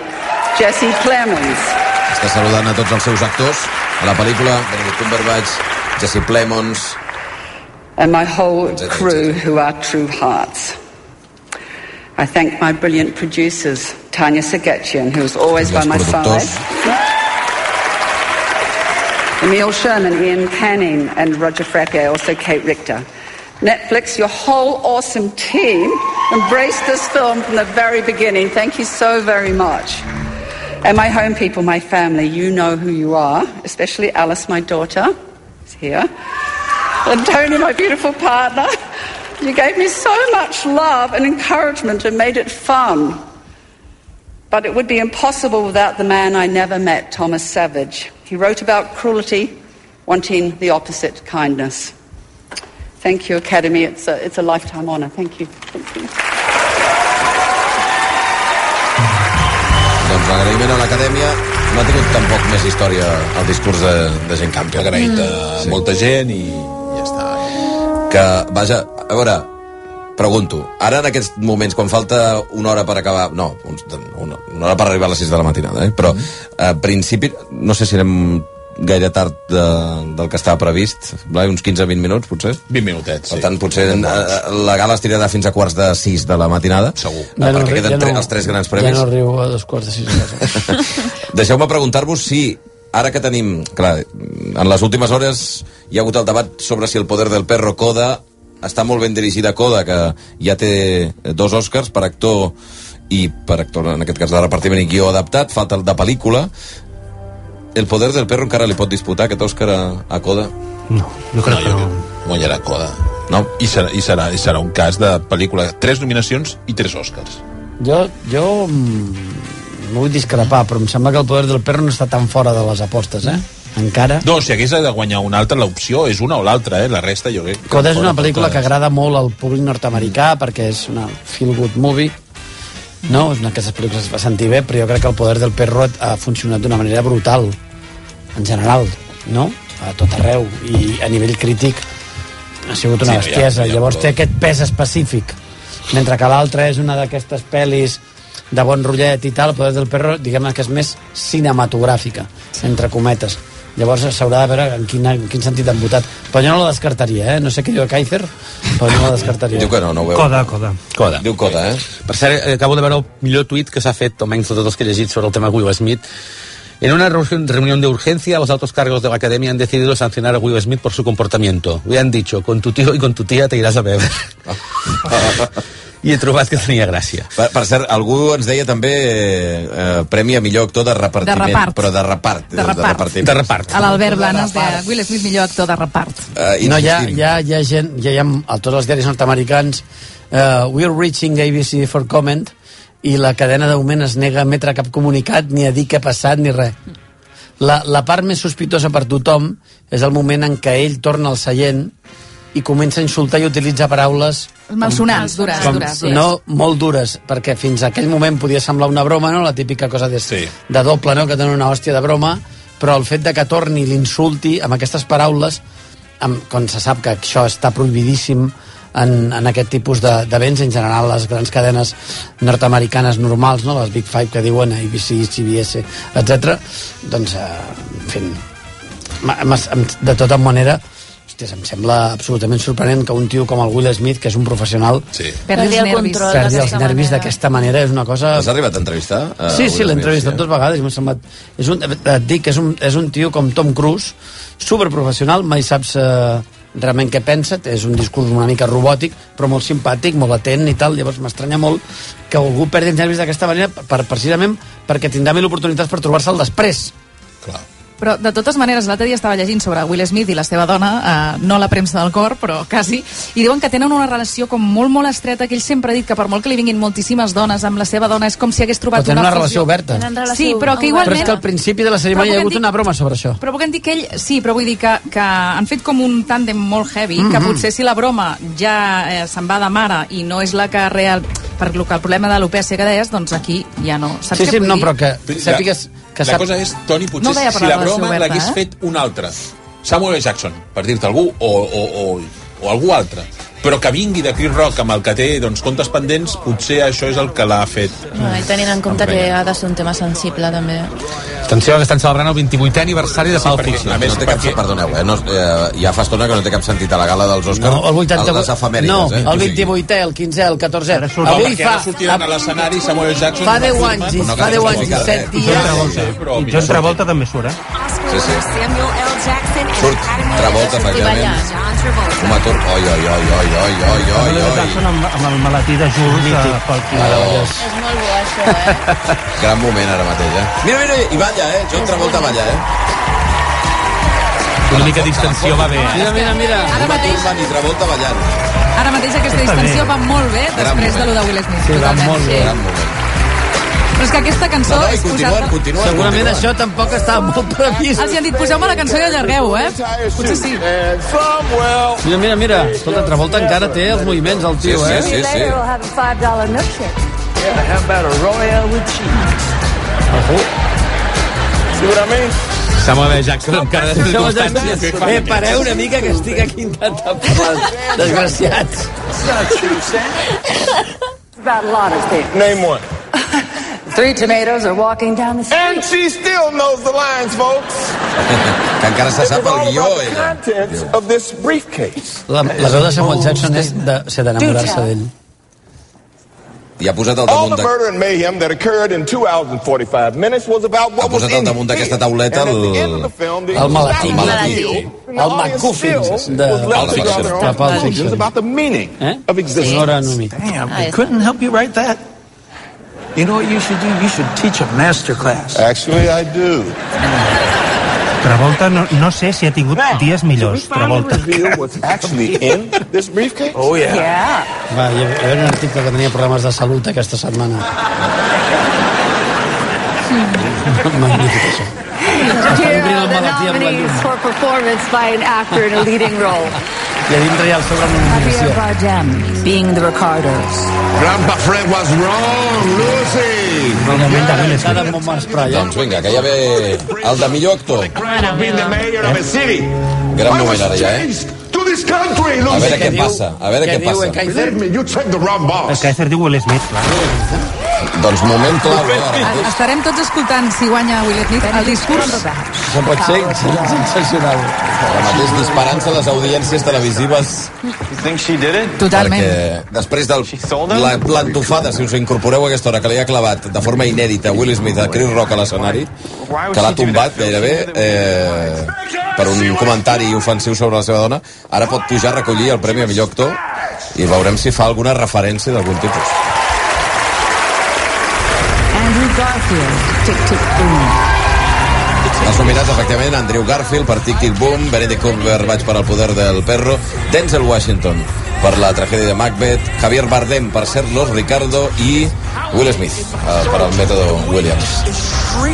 Jesse Plemons.
Està saludant a tots els seus actors a la pel·lícula, Benedict Cumberbatch, Jesse Plemons...
and my whole crew who are true hearts. I thank my brilliant producers, Tanya Sagachian, who is always by my side, Emil Sherman, Ian Canning, and Roger Fracke, also Kate Richter. Netflix, your whole awesome team embraced this film from the very beginning. Thank you so very much. And my home people, my family, you know who you are, especially Alice, my daughter, is here. And Tony, my beautiful partner, you gave me so much love and encouragement and made it fun. But it would be impossible without the man I never met, Thomas Savage. He wrote about cruelty, wanting the opposite kindness. Thank you, Academy. It's a, it's a lifetime honour. Thank you. Thank you.
Doncs l'agraïment a l'acadèmia no ha tingut tampoc més història el discurs de, de gent campió.
Agraït a Mm. molta
gent i ja està. Que, vaja, a veure, pregunto, ara en aquests moments, quan falta una hora per acabar... No, uns, una, una hora per arribar a les 6 de la matinada, eh? però a principi... No sé si anem gaire tard de, del que estava previst, Blai, uns 15-20 minuts, potser?
20 minutets,
Per tant, potser eh, la gala es tirarà fins a quarts de 6 de la matinada. Segur.
Ja no
perquè
riu,
queden
ja
tre-
no-
els tres grans
Ja
premis.
no riu a dos quarts de sis.
Deixeu-me preguntar-vos si, ara que tenim... Clar, en les últimes hores hi ha hagut el debat sobre si el poder del perro Coda està molt ben dirigida a Coda, que ja té dos Oscars per actor i per actor, en aquest cas, de repartiment i guió adaptat, falta el de pel·lícula. El poder del perro encara li pot disputar aquest Òscar a, a Coda?
Jo crec no, que no. Guanyarà Coda. No? I, serà, i, serà, I serà un cas de pel·lícula. Tres nominacions i tres Oscars.
Jo, jo mm, no vull discrepar, però em sembla que el poder del perro no està tan fora de les apostes, eh? Encara.
No, si hagués de guanyar una altra, l'opció és una o l'altra, eh? La resta jo crec... que
Coda és una
fora
pel·lícula que
portades.
agrada molt al públic nord-americà perquè és una feel-good movie no, és una d'aquestes pel·lícules que es va sentir bé però jo crec que el poder del perro ha funcionat d'una manera brutal en general, no? a tot arreu i a nivell crític ha
Sí,
sigut una
no hi ha-
sí, bestiesa
no hi ha
llavors
color.
té aquest pes específic mentre que l'altra és una d'aquestes pel·lis de bon rotllet i tal, el poder del perro diguem que és més cinematogràfica entre cometes Llavors s'haurà de veure en quin, en quin sentit han votat. Però jo no la descartaria, eh? No sé què diu a Kaiser, però jo no la descartaria.
Diu que no, no ho veu.
Coda, coda.
Coda.
Diu Coda, eh?
Per cert, eh, acabo de veure el millor tuit que s'ha fet, almenys de tots els que he llegit sobre el tema Will Smith. En una reunión- reunión de urgencia, los altos cargos de la academia han decidido sancionar a Will Smith por su comportamiento. Le han dicho, con tu tío y con tu tía te irás a
[LAUGHS]
beber. I he trobat que tenia gràcia.
Per, per cert, algú ens deia també eh, eh, premi a millor actor de repartiment.
De repart.
Però de repart.
De repart.
De repart.
A l'Albert Blanes de Will Smith, millor actor de repart.
Uh,
no, hi ha, hi, ha, hi ha gent, ja hi ha a tots els diaris nord-americans uh, We're reaching ABC for comment i la cadena de moment es nega a emetre cap comunicat ni a dir què ha passat ni res. La, la part més sospitosa per tothom és el moment en què ell torna al seient i comença a insultar i utilitza paraules
Malsonants, dures,
com,
dures, dures.
no molt dures, perquè fins a aquell moment podia semblar una broma, no? la típica cosa de, sí. de doble, no? que donen una hòstia de broma, però el fet de que torni i l'insulti amb aquestes paraules, amb, quan se sap que això està prohibidíssim en, en aquest tipus de, de béns, en general les grans cadenes nord-americanes normals, no? les Big Five que diuen ABC, CBS, etc. doncs, eh, en fi, ma- ma- em- de tota manera hòsties, em sembla absolutament sorprenent que un tio com el Will Smith, que és un professional, sí.
Perdi els nervis.
perdi els nervis d'aquesta manera. És una cosa...
Has arribat a entrevistar? eh,
Sí, sí,
Will
l'he
Smith?
entrevistat dues vegades. i M'ha semblat... És un, et dic que és un, és un tio com Tom Cruise, superprofessional, mai saps eh, realment què pensa, és un discurs una mica robòtic, però molt simpàtic, molt atent i tal, llavors m'estranya molt que algú perdi els nervis d'aquesta manera per, precisament perquè tindrà mil oportunitats per trobar-se'l després.
Però, de totes maneres, l'altre dia estava llegint sobre Will Smith i la seva dona, eh, no la premsa del cor, però quasi, i diuen que tenen una relació com molt, molt estreta, que ell sempre ha dit que per molt que li vinguin moltíssimes dones amb la seva dona, és com si hagués trobat
Però tenen
una,
una relació
fusió.
oberta. Tenen relació
Sí, però que
Però
igualment...
és que al principi de la cerimònia hi ha
puc
hagut
dir-
una broma sobre això.
Però puc dir que ell... Sí, però vull dir que, que han fet com un tàndem molt heavy, que
Mhm.
potser si la broma ja eh, se'n va de mare i no és la que real... Per lo que el problema de l'opècia que deies, doncs aquí ja no... Saps
Sí,
què
sí,
vull
no,
dir?
però que sàpigues que
la
sap-
cosa és, Toni, potser
No deia per
si
la
la
relació
broma
oberta,
l'hagués
eh?
fet un altre. Samuel L. Jackson, per dir-te algú, o, o, o, o algú altre. Però que vingui de Chris Rock amb el que té doncs, comptes pendents, potser això és el que l'ha fet.
No, i tenint en compte que ha de ser un tema sensible, també.
Atenció, que estan celebrant el 28è aniversari de Pulp Fiction.
A més, no té cap, perdoneu, eh, no, eh, ja fa estona que no té cap sentit a la gala dels Oscars
No, el 88
les efemèrides,
No,
eh?
el 28è, el 15è, el 14è.
surt- No,
Avui
perquè
fa...
ara sortiran a l'escenari Samuel L. Jackson
Fa
i
10
Uma
anys,
Thurman. No,
fa
que
10
no
anys,
explica, eh?
7
John Travolta.
dies...
Però,
I John Travolta també surt, eh?
Sí, sí. Surt Travolta, efectivament. Home, tu... Oi, oi, oi, oi, oi, oi, oi,
Samuel L.
oi.
Jackson amb, amb el malatí de Jules eh, pel
Meravellós.
Quim.
És molt bo, això, eh?
Gran moment ara mateix, eh? Mira, mira, i balla, eh? John Travolta balla, eh?
Una mica d'extensió va bé. eh?
mira, mira.
Ara mateix,
Van i Travolta ballant.
ara mateix aquesta
Està bé.
distensió va molt bé després de lo de Will Smith.
Gran
totalment.
moment.
Però és que aquesta cançó és posada...
Segurament això tampoc estava molt previst.
Els hi Ah, han dit, poseu-me la cançó i allargueu, eh? Potser sí.
Mira, mira, mira. Escolta, Travolta encara té els moviments, el tio, eh?
have a five dollar milkshake.
Yeah, how about a Royale with cheese? See what I mean?
Samuel L. Jackson amb cara de
Samuel L. Jackson. Eh, pareu una mica que estic aquí intentant parlar. Desgraciats.
It's not true, Sam. It's about a lot of things. Name one. [LAUGHS] Three tomatoes are walking down the street. And she still knows the lines, folks.
Que encara se sap el guió, eh? ella.
Contents of this briefcase.
La, la veu de Samuel Jackson és de, ser d'enamorar-se d'ell.
I ha posat al
All
damunt
the
de...
murder and mayhem that occurred in 2 hours and 45 minutes was about
Ha
what was
posat al
in
damunt d'aquesta tauleta el...
El malatí.
El malatí, sí.
El McGuffin de
Pulp Fiction.
de Pulp Fiction.
about the meaning
Eh?
of existence.
Nora Numi.
Damn,
Ah,
we couldn't help you write that. You know what you should do? You should teach a master class.
Actually, [LAUGHS] I do.
Travolta no, no sé si ha tingut dies millors, Travolta.
reveal what's actually in this briefcase? Oh,
Yeah.
Va, hi havia hi havia un article que tenia problemes de salut aquesta setmana. [LAUGHS] Magnífic, això.
Here are the
malatí amb la
nominees
llum.
for performance by an actor in a leading
[LAUGHS]
role.
I a dintre hi ha el sobre amb una
Javier
nominació.
Bardem, being the Ricardos.
Grandpa Fred was wrong, Lucy!
El moment de Will Smith. molt mans prall, eh?
Doncs vinga, que ja ve el de millor actor.
Being the mayor of a city.
Gran moment ara ja, eh?
To this country,
A veure què passa, a veure què passa.
Believe me, you check the wrong box.
El Kaiser diu Will Smith, clar.
Doncs moment clau, eh? ara.
Ah, Estarem tots escoltant, si guanya Will Smith, el discurs...
Això pot ser [LAUGHS] sensacional.
Ara mateix disparant-se les audiències televisives
Totalment.
perquè després del, la plantofada, si us incorporeu a aquesta hora, que li ha clavat de forma inèdita Will Smith a Chris Rock a l'escenari, que l'ha tombat gairebé eh, per un comentari ofensiu sobre la seva dona, ara pot pujar a recollir el Premi a Millor Actor i veurem si fa alguna referència d'algun tipus.
Andrew Garfield, Tick Tick
[LAUGHS]
Boom.
Els nominats, efectivament, Andrew Garfield per Tic Tic Boom, Benedict Cumberbatch per El poder del perro, Denzel Washington per la tragèdia de Macbeth, Javier Bardem per Serlos, Ricardo i Will Smith eh, per el mètode Williams.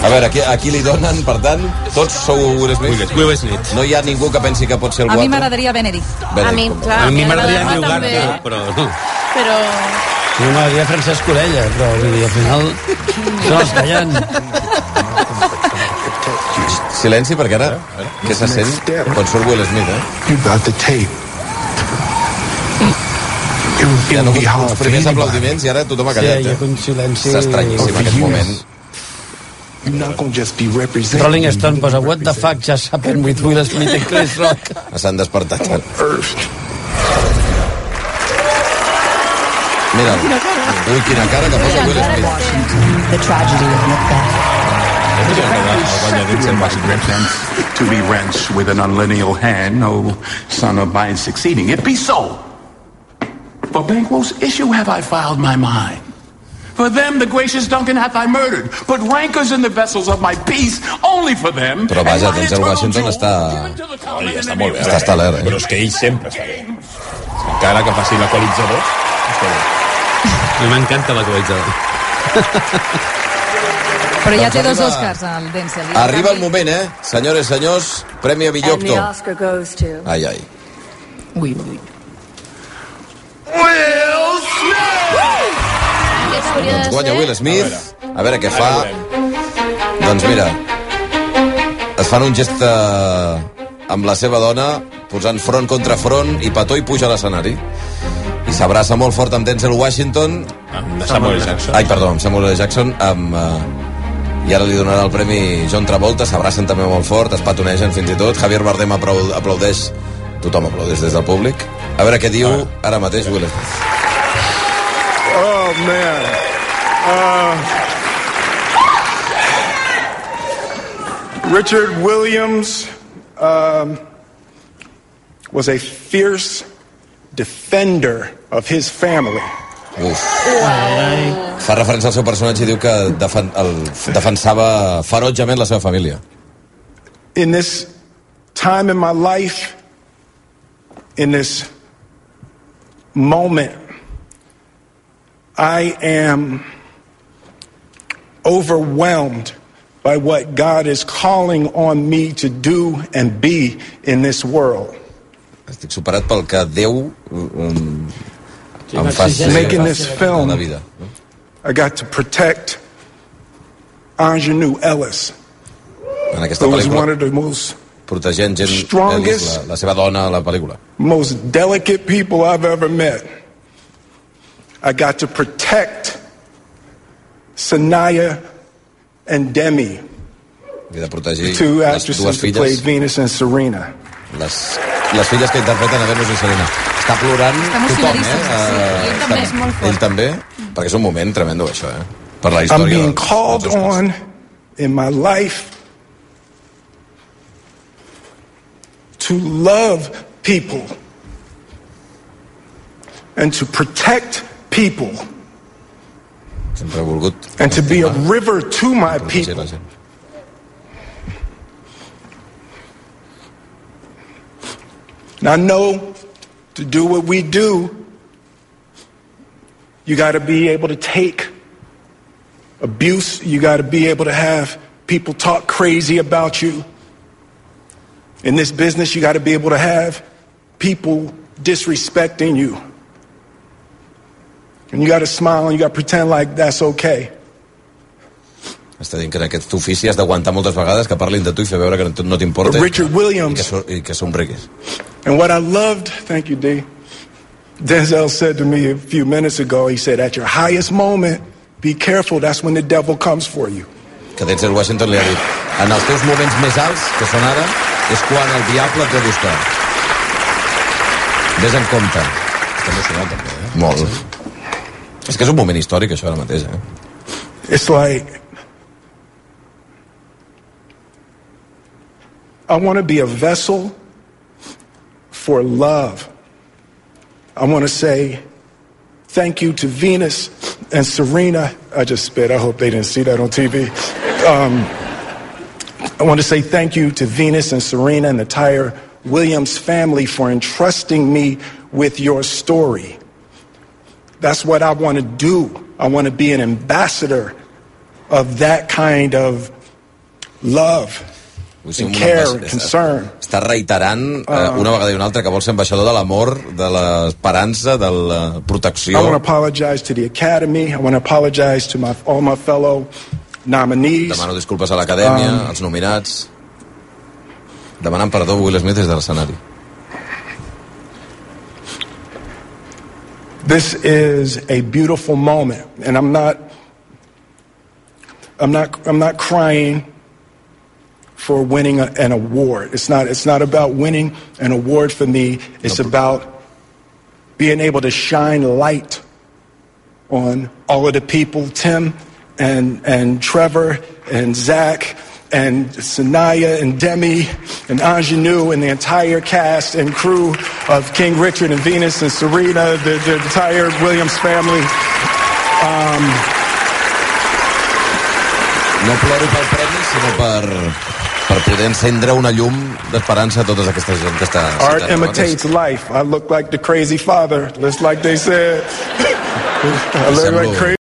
A veure, aquí, aquí li donen, per tant, tots sou Will Smith? Will Smith. No hi ha ningú que pensi que pot ser
A
el
mi
guapo?
m'agradaria Benedict.
Benedict
A mi,
Cumberbatch.
clar,
A mi m'agradaria
m'agradava
Andrew
també,
Garfield, però no.
Però...
Sí, m'agradaria Francesc Orella, però vull dir, al final... Són els que hi ha...
Silenci, perquè ara que se sent quan surt Will Smith, eh?
You got the tape. It would, it
Ja no,
would be hard
els
for
primers
anybody.
eh.
aplaudiments i ara tothom ha
Sí,
callat,
hi ha
eh?
un silenci...
És estranyíssim aquest moment.
You're not going to just be represented.
Rolling Stone posa What the fuck just happened with Will Smith and Chris Rock?
S'han despertat. Mira'l. Ui, quina cara que posa Will Smith.
The tragedy of Macbeth.
It's a much great to be wrenched with an unlineal hand, no son of mine succeeding. It be so. For Banquo's issue have I filed my mind. For them the gracious Duncan hath I murdered, but rancors in the vessels of my peace only for them.
Però vaja, Denzel Washington està...
Oi, està Ah, molt bé.
Està estel·lar, eh?
Però és que ell sempre està bé. Encara que faci l'equalitzador, està bé.
A mi m'encanta l'equalitzador.
Però ja
Doncs
té dos
arriba-
Oscars, el Denzel. I en
Arriba el
canvi-
moment, eh? Senyores, senyors, Premi a millor
And the
actor.
Oscar goes to...
Ai, ai.
Ui, ui.
Will
Aquest hauria
Doncs
de
guanya Will
ser...
Smith. A veure què fa. Doncs mira, es fan un gest eh, amb la seva dona, posant front contra front, i Pató hi puja a l'escenari. I s'abraça molt fort amb Denzel Washington.
Amb Samuel L. Jackson.
Ai, perdó, amb Samuel L. Jackson. Amb, eh, I ara li donarà el premi John Travolta, s'abracen també molt fort, es patonegen fins i tot. Javier Bardem aplau- aplaudeix, tothom aplaudeix des del públic. A veure què diu ara mateix Will Smith.
Oh man. Uh, Uh, Richard Williams um, was a fierce defender of his family.
Fa referència al seu personatge i diu que defen el defensava ferotgement la seva família.
In this time in my life, in this moment, I am overwhelmed by what God is calling on me to do and be in this world.
Estic superat pel que Déu um, em fa ser
Making this
en tota la
film,
vida.
I got to protect Ingenue Ellis,
En aquesta
who was
pel·lícula,
one of the most
protegent gent, eh,
Strongest-
la, la seva dona a la pel·lícula.
most delicate people I've ever met. I got to protect Sanaya and Demi,
Havia de protegir
the two
les dues
actresses who played
filles,
Venus and Serena.
les, les filles que interpreten a Venus i Serena. Està plorant
Està
tothom, eh?
emocionadíssim, sí.
Eh,
Ell també és molt fort.
Ell també, perquè és un moment tremendo, això, eh? Per la
I'm
història.
being
de-
called on in my life to love people and to protect people
Sempre he volgut
and to be a river to my
protegir
people.
la gent.
And I know to do what we do, you got to be able to take abuse. You got to be able to have people talk crazy about you. In this business, you got to be able to have people disrespecting you. And you got to smile and you got to pretend like that's okay.
Està dient que en aquest ofici has d'aguantar moltes vegades que parlin de tu i fer veure que no- no t'importa i,
Richard Williams.
que so- i que somriguis.
And what I loved, thank you, D. Denzel said to me a few minutes ago, he said, At your highest moment, be careful. That's when the devil comes for you.
Que Denzel Washington li ha dit en els teus moments més alts, que són ara, és quan el diable et ve a buscar. Ves en compte. Està emocionat, també, eh? Molt. És que és un moment històric, això, ara mateix, eh?
It's like, I want to be a vessel for love. I want to say thank you to Venus and Serena. I just spit. I hope they didn't see that on TV. Um, I want to say thank you to Venus and Serena and the entire Williams family for entrusting me with your story. That's what I want to do. I want to be an ambassador of that kind of love
Vull ser
and
un
care
ambas-
and concern.
Està reiterant eh,
Ah.
una vegada i una altra que vol ser ambaixador de l'amor, de l'esperança, de la protecció.
I want to apologize to the Academy. I want to apologize to my, all my fellow nominees.
Demano disculpes a l'acadèmia,
Um,
als nominats. Demanant perdó a Will Smith des de l'escenari.
This is a beautiful moment, and I'm not I'm not, I'm not crying for winning a, an award. It's not, it's not about winning an award for me. It's about being able to shine light on all of the people, Tim and, and Trevor and Zach and Sanaya and Demi and Ingenue and the entire cast and crew of King Richard and Venus and Serena, the, the entire Williams family. Um,
No ploro pel premi, sinó per, per poder encendre una llum d'esperança a totes aquesta gent que està...
art
citant, no? Que és-
imitates [LAUGHS] life. I look like the crazy father, just like they said. I look like crazy.